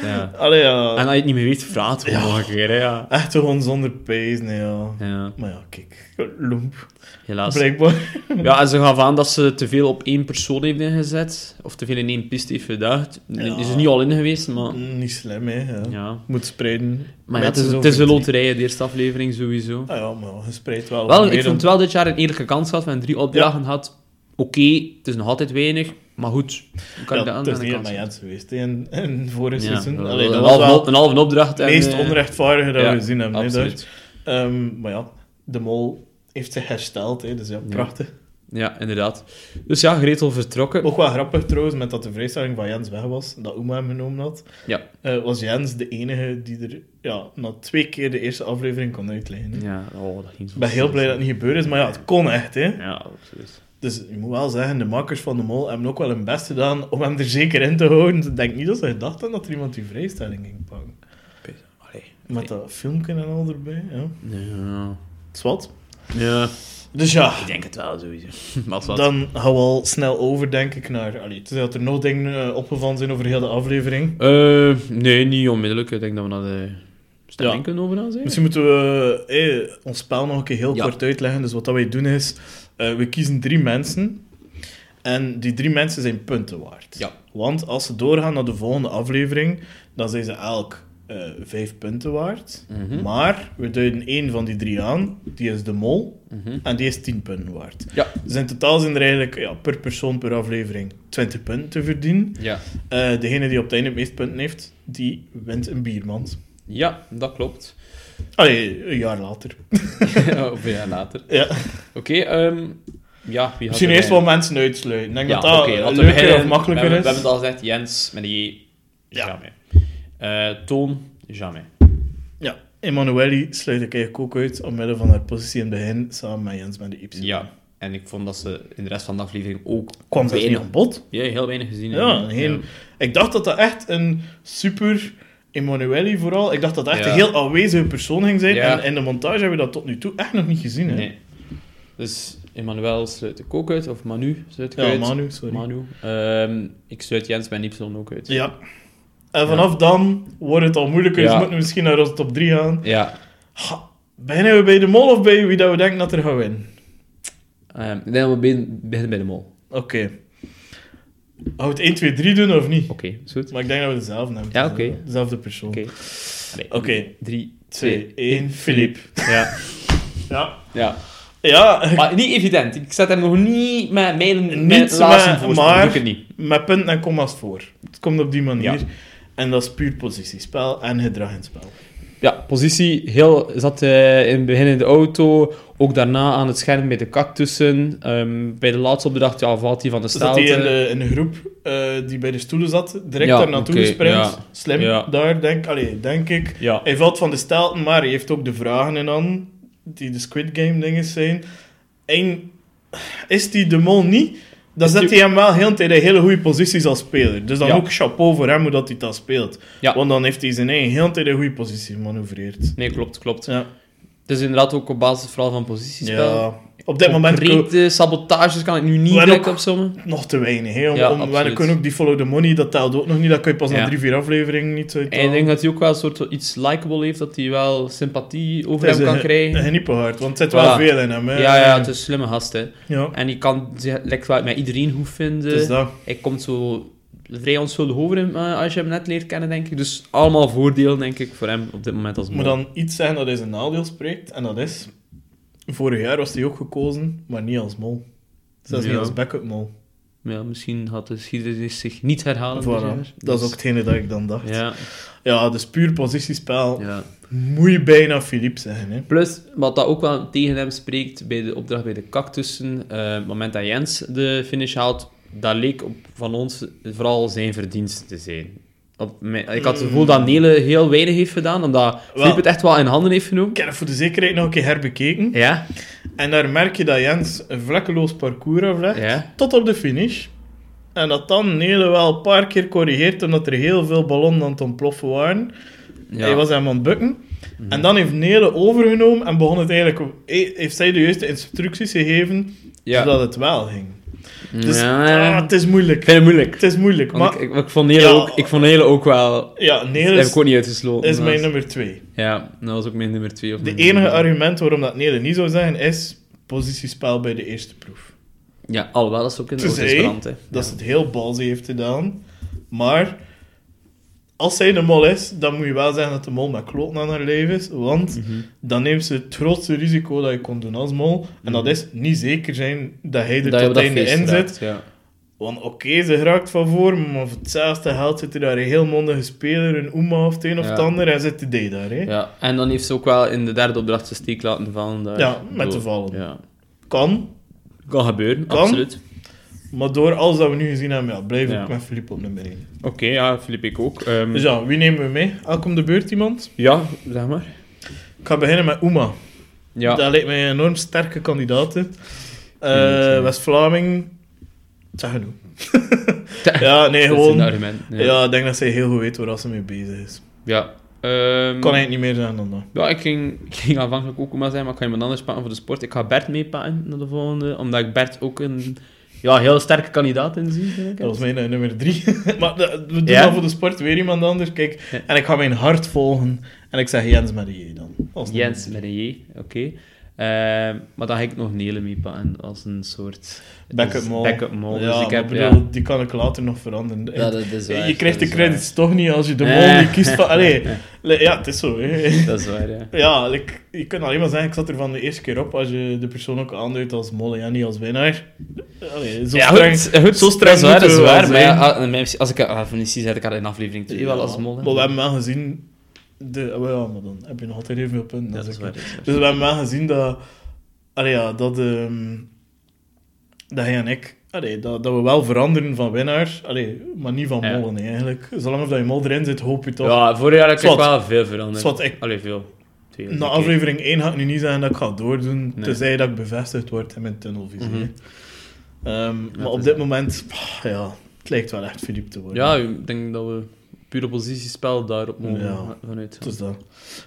S1: Ja.
S2: Allee, ja.
S1: En als je het niet meer weet, vraag het gewoon nog een keer. Hè, ja.
S2: Echt gewoon zonder pees, nee, ja.
S1: Ja,
S2: Maar ja, kijk. Loemp.
S1: helaas.
S2: Blijkbaar. *laughs*
S1: Ja, en ze gaf aan dat ze te veel op één persoon heeft ingezet. Of te veel in één piste heeft gedaagd.
S2: Ja.
S1: Is er niet al in geweest, maar...
S2: Niet slim, hè. Ja.
S1: Ja.
S2: Moet spreiden.
S1: Maar ja, het
S2: Mensen
S1: is, het
S2: over
S1: is een
S2: drie.
S1: loterij, de eerste aflevering sowieso.
S2: Ah ja, maar je spreidt wel.
S1: Wel,
S2: meer
S1: ik vond
S2: dan-
S1: wel dit jaar een eerlijke kans gehad. We hebben drie opdrachten gehad. Oké, het is nog altijd weinig. Maar goed, hoe kan
S2: Ja,
S1: ik dat aan
S2: Het is
S1: de
S2: niet
S1: kans?
S2: helemaal Jens geweest hè, in, in vorige
S1: Ja,
S2: seizoen.
S1: wel-
S2: Allee,
S1: een,
S2: dat was wel
S1: halve, een halve opdracht.
S2: het
S1: en,
S2: meest
S1: eh,
S2: onrechtvaardige dat
S1: ja,
S2: we gezien hebben. hè, daar.
S1: Absoluut.
S2: Ehm, maar ja, de mol heeft zich hersteld, hè, dus ja, prachtig.
S1: Ja, inderdaad. Dus ja, Gretel vertrokken.
S2: Ook wel grappig trouwens, met dat de vrijstelling van Jens weg was, dat Oma hem genomen had,
S1: Ja.
S2: eh, was Jens de enige die er ja, na twee keer de eerste aflevering kon uitleggen. hè.
S1: Ja, oh, dat ging zo
S2: Ik ben heel blij dat het niet gebeurd is, maar ja, het kon echt. Hè.
S1: Ja, absoluut.
S2: Dus ik moet wel zeggen, de makers van de mol hebben ook wel hun best gedaan om hem er zeker in te houden. Ik denk niet dat ze gedacht hadden dat er iemand die vrijstelling ging pakken.
S1: Allee.
S2: Met dat filmpje en al erbij, ja.
S1: Ja.
S2: Het is wat.
S1: ja,
S2: Dus ja,
S1: ik denk het wel sowieso. *laughs* Maar wat.
S2: dan gaan we al snel over, denk ik, naar... Allee, het is dat er nog dingen eh, opgevallen zijn over heel de aflevering.
S1: Eh, nee, niet onmiddellijk. Ik denk dat we naar de stemming
S2: Ja.
S1: kunnen overgaan zijn.
S2: Misschien moeten we eh, ons spel nog een keer heel
S1: Ja.
S2: kort uitleggen. Dus wat dat wij doen is, eh, we kiezen drie mensen. En die drie mensen zijn punten waard.
S1: Ja.
S2: Want als ze doorgaan naar de volgende aflevering, dan zijn ze elk eh, vijf punten waard.
S1: Mhm.
S2: Maar we duiden één van die drie aan, die is de mol,
S1: Mhm.
S2: en die is tien punten waard.
S1: Ja.
S2: Dus in totaal zijn er eigenlijk ja, per persoon per aflevering 20 punten te verdienen.
S1: Ja.
S2: Eh, degene die op het einde het meest punten heeft, die wint een biermand.
S1: ja, dat klopt. *laughs*
S2: Allee, een jaar later.
S1: of een jaar later.
S2: *laughs* Ja.
S1: Oké, ehm, ja, wie had
S2: Misschien
S1: er
S2: eerst
S1: bij?
S2: wel mensen uitsluiten. Ik denk
S1: Ja,
S2: dat dat
S1: oké. laten we
S2: leuker
S1: beginnen.
S2: of makkelijker
S1: we,
S2: is.
S1: hebben- We hebben het al gezegd, Jens met een J.
S2: Ja.
S1: Jamais. Eh, Toon, jamais.
S2: Ja, Emanuele sluit ik eigenlijk ook uit omwille van haar positie in het begin, samen met Jens met de Y.
S1: Ja, en ik vond dat ze in de rest van de aflevering ook
S2: Kwam ze niet
S1: weinig,
S2: aan bod?
S1: ja, heel weinig gezien
S2: Ja,
S1: hebben.
S2: geen- ik dacht dat dat echt een super Emanuele vooral. Ik dacht dat dat echt
S1: Ja.
S2: een heel aanwezige persoon ging zijn.
S1: Ja.
S2: En in de montage hebben we dat tot nu toe echt nog niet gezien. Hè?
S1: Nee. Dus Emmanuel sluit ik ook uit, of Manu sluit ik
S2: Ja,
S1: uit.
S2: Manu, sorry.
S1: Manu. Ehm, ik sluit Jens bij Nipson ook uit.
S2: Ja. En vanaf dan wordt het al moeilijker.
S1: Ja.
S2: Dus we moeten misschien naar onze top 3 gaan.
S1: Ja.
S2: Ha, beginnen we bij de mol of bij wie dat we denken dat er gaat winnen?
S1: Ehm, ik denk dat we begin- beginnen bij de mol.
S2: Oké. Gaan we het 1, 2, 3 doen of niet?
S1: Oké, is goed.
S2: Maar ik denk dat we dezelfde hebben.
S1: Ja, oké.
S2: Dezelfde persoon.
S1: Oké.
S2: 3,
S1: Drie,
S2: 2, 1, Filip.
S1: Ja.
S2: Ja.
S1: ja.
S2: Ja, *laughs*
S1: Maar niet evident. Ik zet hem nog niet met mijn, mijn
S2: Niets
S1: laatste
S2: met-
S1: voor.
S2: maar-
S1: Doe ik het niet.
S2: met punten en commas voor. Het komt op die manier.
S1: Ja.
S2: En dat is puur positiespel en gedrag in het spel.
S1: Ja, positie. Heel, zat eh, in het begin in de auto. Ook daarna aan het scherm met de cactussen. Ehm, bij de laatste opdracht ja, valt hij van de
S2: Zat
S1: staal.
S2: hij in de, in de groep eh, die bij de stoelen zat, direct
S1: Ja,
S2: daar naartoe
S1: oké,
S2: gesprint.
S1: ja.
S2: Slim,
S1: Ja.
S2: daar denk, allee, denk ik.
S1: Ja.
S2: Hij valt van de stelten, maar hij heeft ook de vragen in aan, die de Squid Game dingen zijn. En is die de mol niet, dan
S1: Is
S2: zet
S1: die-
S2: hij hem wel heel de tijd in hele goede posities als speler. Dus dan
S1: Ja.
S2: ook chapeau voor hem hoe dat hij dat speelt.
S1: Ja.
S2: Want dan heeft hij zijn eigen heel de tijd in goede positie gemanoeuvreerd.
S1: Nee, klopt, klopt.
S2: Ja.
S1: Het is inderdaad ook op basis vooral van positiespel.
S2: ja. Op dit moment kunnen we
S1: Concrete sabotages kan ik nu niet
S2: Maar
S1: direct
S2: ook-
S1: opzommen.
S2: nog te weinig. Hè, om,
S1: Ja,
S2: om, we
S1: absoluut.
S2: kunnen ook die Follow the Money, dat telt ook nog niet. Dat kun je pas
S1: Ja.
S2: na drie, vier afleveringen niet eh,
S1: En ik
S2: uithalen.
S1: denk dat hij ook wel een soort van iets likable heeft, dat hij wel sympathie over hem
S2: Het is
S1: kan
S2: een-
S1: krijgen.
S2: Een geniepenhard, want het zit
S1: Voilà.
S2: wel veel in hem. Hè.
S1: Ja, ja, het is een slimme gast, hè.
S2: Ja,
S1: En die kan zich lekker wel met iedereen goed vinden.
S2: het is dat.
S1: Hij komt zo vrij onschuldig over hem, eh, als je hem net leert kennen, denk ik. Dus allemaal voordelen, denk ik, voor hem op dit moment als
S2: Ik moet
S1: mol.
S2: dan iets zeggen dat hij zijn nadeel spreekt, en dat is... Vorig jaar was hij ook gekozen, maar niet als mol. Zelfs
S1: Ja.
S2: niet als backup mol.
S1: Ja, misschien had de geschiedenis zich niet herhalen. dit jaar.
S2: Voilà. Dat is ook hetgene dat ik dan dacht. Ja,
S1: Ja,
S2: dus puur positiespel.
S1: ja.
S2: Moet je bijna Philippe zeggen, hè.
S1: Plus, wat dat ook wel tegen hem spreekt bij de opdracht bij de cactussen, eh, het moment dat Jens de finish haalt, dat leek op, van ons vooral zijn verdienste te zijn. Op mijn- ik had het gevoel
S2: Mm.
S1: dat Nele heel weinig heeft gedaan, omdat Filip het echt wel in handen heeft genomen.
S2: Ik heb het voor de zekerheid nog een keer herbekeken.
S1: Ja,
S2: En daar merk je dat Jens een vlekkeloos parcours aflegt,
S1: ja.
S2: tot op de finish. En dat dan Nele wel een paar keer corrigeert, omdat er heel veel ballonnen aan het ontploffen waren.
S1: ja. Mhm.
S2: Hij was hem aan het bukken. En dan heeft Nele overgenomen en begon het eigenlijk... he- Heeft zij de juiste instructies gegeven,
S1: Ja.
S2: zodat het wel ging. Dus
S1: Ja.
S2: ah, het is moeilijk.
S1: Ik vind het moeilijk.
S2: Het is moeilijk,
S1: Want
S2: maar...
S1: ik, ik, ik vond Nele
S2: Ja.
S1: ook, ik vond Nele ook wel...
S2: Ja, Nele
S1: Dat heb
S2: is,
S1: ik ook niet uitgesloten.
S2: is mijn
S1: Dat
S2: nummer twee.
S1: Ja, dat was ook mijn nummer twee. Of
S2: De
S1: mijn nummer
S2: enige
S1: drie.
S2: argument waarom dat Nele niet zou zijn, is positiespel bij de eerste proef.
S1: Ja, alhoewel, dat is ook in de
S2: Tenzij
S1: brand, hè.
S2: dat ze het heel balzy heeft gedaan. Maar als zij de mol is, dan moet je wel zeggen dat de mol met kloten aan haar leven is. Want
S1: Mhm.
S2: dan neemt ze het grootste risico dat je kon doen als mol. En dat is niet zeker zijn dat hij er
S1: Mhm. Dat je op
S2: tot
S1: dat
S2: einde
S1: feest
S2: in
S1: raakt,
S2: zit.
S1: Ja.
S2: Want oké, ze raakt van voor, maar voor hetzelfde geld zit er daar een heel mondige speler, een Oema of het een of het
S1: Ja.
S2: ander. En zit de D daar, hè.
S1: Ja, en dan heeft ze ook wel in de derde opdracht zijn steek laten vallen. daar.
S2: Ja, met
S1: Zo.
S2: de vallen.
S1: Ja.
S2: Kan,
S1: Kan gebeuren,
S2: Kan.
S1: absoluut.
S2: maar door alles dat we nu gezien hebben, ja, blijf
S1: Ja. Mhm.
S2: ik met Filip op nummer 1.
S1: Oké, ja, Filip, ik ook. Ehm,
S2: Dus ja, wie nemen we mee? Elk om de beurt iemand?
S1: ja, zeg maar.
S2: Ik ga beginnen met Oema.
S1: Ja,
S2: Dat lijkt mij een enorm sterke kandidaat. hè. Eh,
S1: ja.
S2: West-Vlaming. Zeg genoeg.
S1: *laughs* Tja,
S2: ja, nee,
S1: dat is een
S2: gewoon.
S1: argument. Ja.
S2: Ja, ik denk dat zij heel goed weet waar ze mee bezig is.
S1: Ja. Ehm,
S2: Kan eigenlijk niet meer zijn dan dat.
S1: Ja, ik ging, ik ging aanvankelijk ook maar zijn, maar ik ga iemand anders pakken voor de sport. Ik ga Bert meepakken naar de volgende, omdat ik Bert ook een ja, heel sterke kandidaat in zie. vind ik.
S2: Dat was mijn eh, nummer drie. *laughs* maar dat- we doen
S1: Ja?
S2: dat voor de sport weer iemand anders. Kijk,
S1: Ja.
S2: en ik ga mijn hart volgen. En ik zeg Jens Marie dan. Als nummer
S1: Jens
S2: drie.
S1: met een J, oké. Ehm, maar dan ga ik nog Nele meepakken als een soort...
S2: Backup
S1: dus
S2: Mol.
S1: Backup mol.
S2: Ja,
S1: dus ik
S2: maar
S1: heb...
S2: bedoel, die kan ik later nog veranderen.
S1: ja, dat is waar.
S2: je krijgt de
S1: dat is waar.
S2: credits toch niet als je de mol
S1: Nee.
S2: niet
S1: *laughs*
S2: kiest van... Allee, li- ja, het is zo. hè.
S1: Dat is waar, ja.
S2: Ja, like, je kunt alleen maar zeggen, ik zat er van de eerste keer op als je de persoon ook aanduidt als molle en niet als winnaar. Allee, zo
S1: ja,
S2: streng.
S1: goed, goed,
S2: zo streng
S1: dat is
S2: moeten we
S1: waar,
S2: wel
S1: maar ja,
S2: zijn.
S1: ah, en mijn- als ik ah, van die zei ik had in aflevering 2 wel als mol. hè.
S2: Maar we hebben wel gezien... De, oh ja, maar dan heb je nog altijd heel veel punten.
S1: Ja,
S2: dat
S1: dat
S2: is
S1: is waar.
S2: oké.
S1: dat is waar.
S2: Dus we hebben wel gezien dat... Allee, ja, dat... ehm, dat hij en ik... Allee, dat, dat we wel veranderen van winnaar, allee, maar niet van
S1: Ja.
S2: mollen eigenlijk. Zolang of dat je mol erin zit, hoop je toch...
S1: Ja, vorig jaar heb ik
S2: Zwat.
S1: wel veel veranderd.
S2: Zwat, Dus ik-
S1: Allee, veel. Twee,
S2: Na
S1: oké.
S2: aflevering 1 ga ik nu niet zeggen dat ik ga doordoen,
S1: Nee.
S2: tenzij dat ik bevestigd word in mijn tunnelvisie.
S1: Mhm.
S2: hè. Ehm, maar
S1: het
S2: op
S1: is
S2: dit
S1: dat.
S2: moment, pah, ja, het lijkt wel echt Philippe te worden.
S1: Ja, ik denk dat we
S3: pure positiespel daarop mogen
S2: Ja.
S3: vanuit.
S2: Het is dat.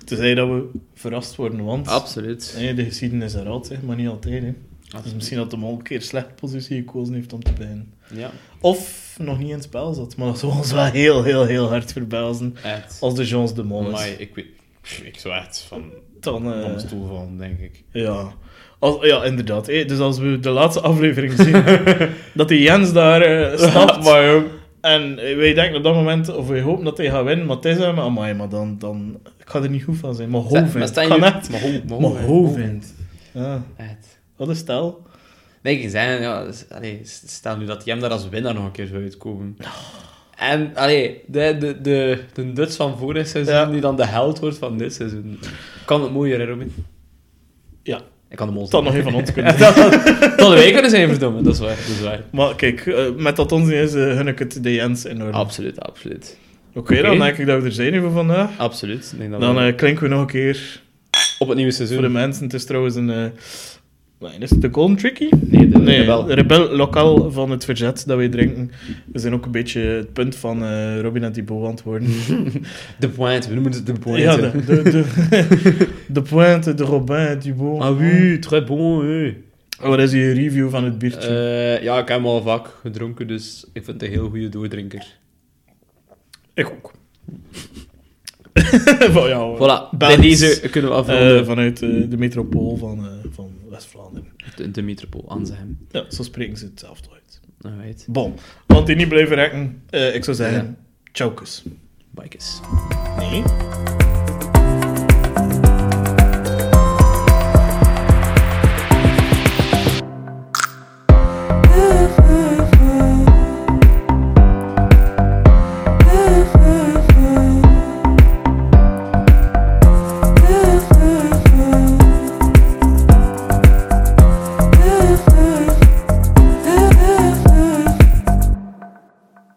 S2: Tenzij dat we verrast worden, want
S3: Absoluut.
S2: hè, de geschiedenis herhaalt zich, maar niet altijd. Hè. Dus
S3: Absoluut.
S2: misschien dat hem al een keer slecht positie gekozen heeft om te beginnen.
S3: Ja,
S2: Of nog niet in het spel zat, maar dat zou ons wel heel, heel, heel hard verbazen.
S3: echt.
S2: Als de Jeans de Mol
S4: Amai,
S2: is.
S4: ik weet... pff, Ik zou echt van,
S2: Dan, eh,
S4: van mijn stoel vallen, denk ik.
S2: Ja. Als, ja, inderdaad. hè. Dus als we de laatste aflevering zien, dat die Jens daar eh, stapt. En eh, wij denken op dat moment, of wij hopen dat hij gaat winnen, maar het is hem, amai, maar dan, dan... Ik ga er niet goed van zijn. Maar
S3: Maar
S2: Hovind.
S3: staan
S2: Ik ga
S3: jullie- Oh,
S2: net...
S3: Maar ho- maar ho-
S2: Maar Hovind. Ja.
S3: Echt.
S2: Wat een stel.
S3: Nee, ik zei, ja, dus, allee, s- stel nu dat hem daar als winnaar nog een keer zou uitkomen. En allee, de, de, de, de Duts van vorig seizoen,
S2: Ja.
S3: die dan de held wordt van dit seizoen. Kan het mooier, hè, Robin?
S2: Ja.
S3: Ik kan de mol
S2: Het had nog
S3: zijn. *laughs*
S2: een van ons kunnen zijn.
S3: dat, dat hadden wij kunnen zijn, verdomme. Dat is waar, dat is waar.
S2: Maar kijk, eh, met dat ons niet is, eh, gun ik het de Jens enorm. Oké,
S3: Absoluut, absoluut.
S2: dan
S3: Oké.
S2: denk ik dat we er zijn hier voor vandaag.
S3: Absoluut. Ik denk dat
S2: Dan
S3: we
S2: eh, klinken we nog een keer
S3: op het nieuwe
S2: voor de
S3: seizoen...
S2: mensen. Het is trouwens een... eh, wat is het de Golden Tricky?
S3: Nee, de,
S2: Nee,
S3: wel.
S2: de rebel lokaal van het verzet dat wij drinken. We zijn ook een beetje het punt van eh, Robin en Thibaut aan het *laughs* worden.
S3: De pointe, we noemen het de pointe.
S2: Ja, de, de, de, *laughs* de pointe, de Robin, Thibaut.
S3: Ah oui, très bon, oui.
S2: Wat is je review van het biertje?
S3: Eh, ja, ik heb hem al vaak gedronken, dus ik vind het een heel goede doordrinker.
S2: ik ook. *laughs* van jou.
S3: Voilà, bij
S2: Belgisch.
S3: deze kunnen we afronden.
S2: Eh, vanuit eh, de metropool van, eh, van West-Vlaanderen.
S3: de, de metropool, Anzehem.
S2: Ja, zo spreken ze het zelf uit.
S3: Dat weet.
S2: Bon, want die niet blijven rekken. eh, ik zou zeggen,
S3: Ja.
S2: tjaukes.
S3: Bikes.
S2: Nee.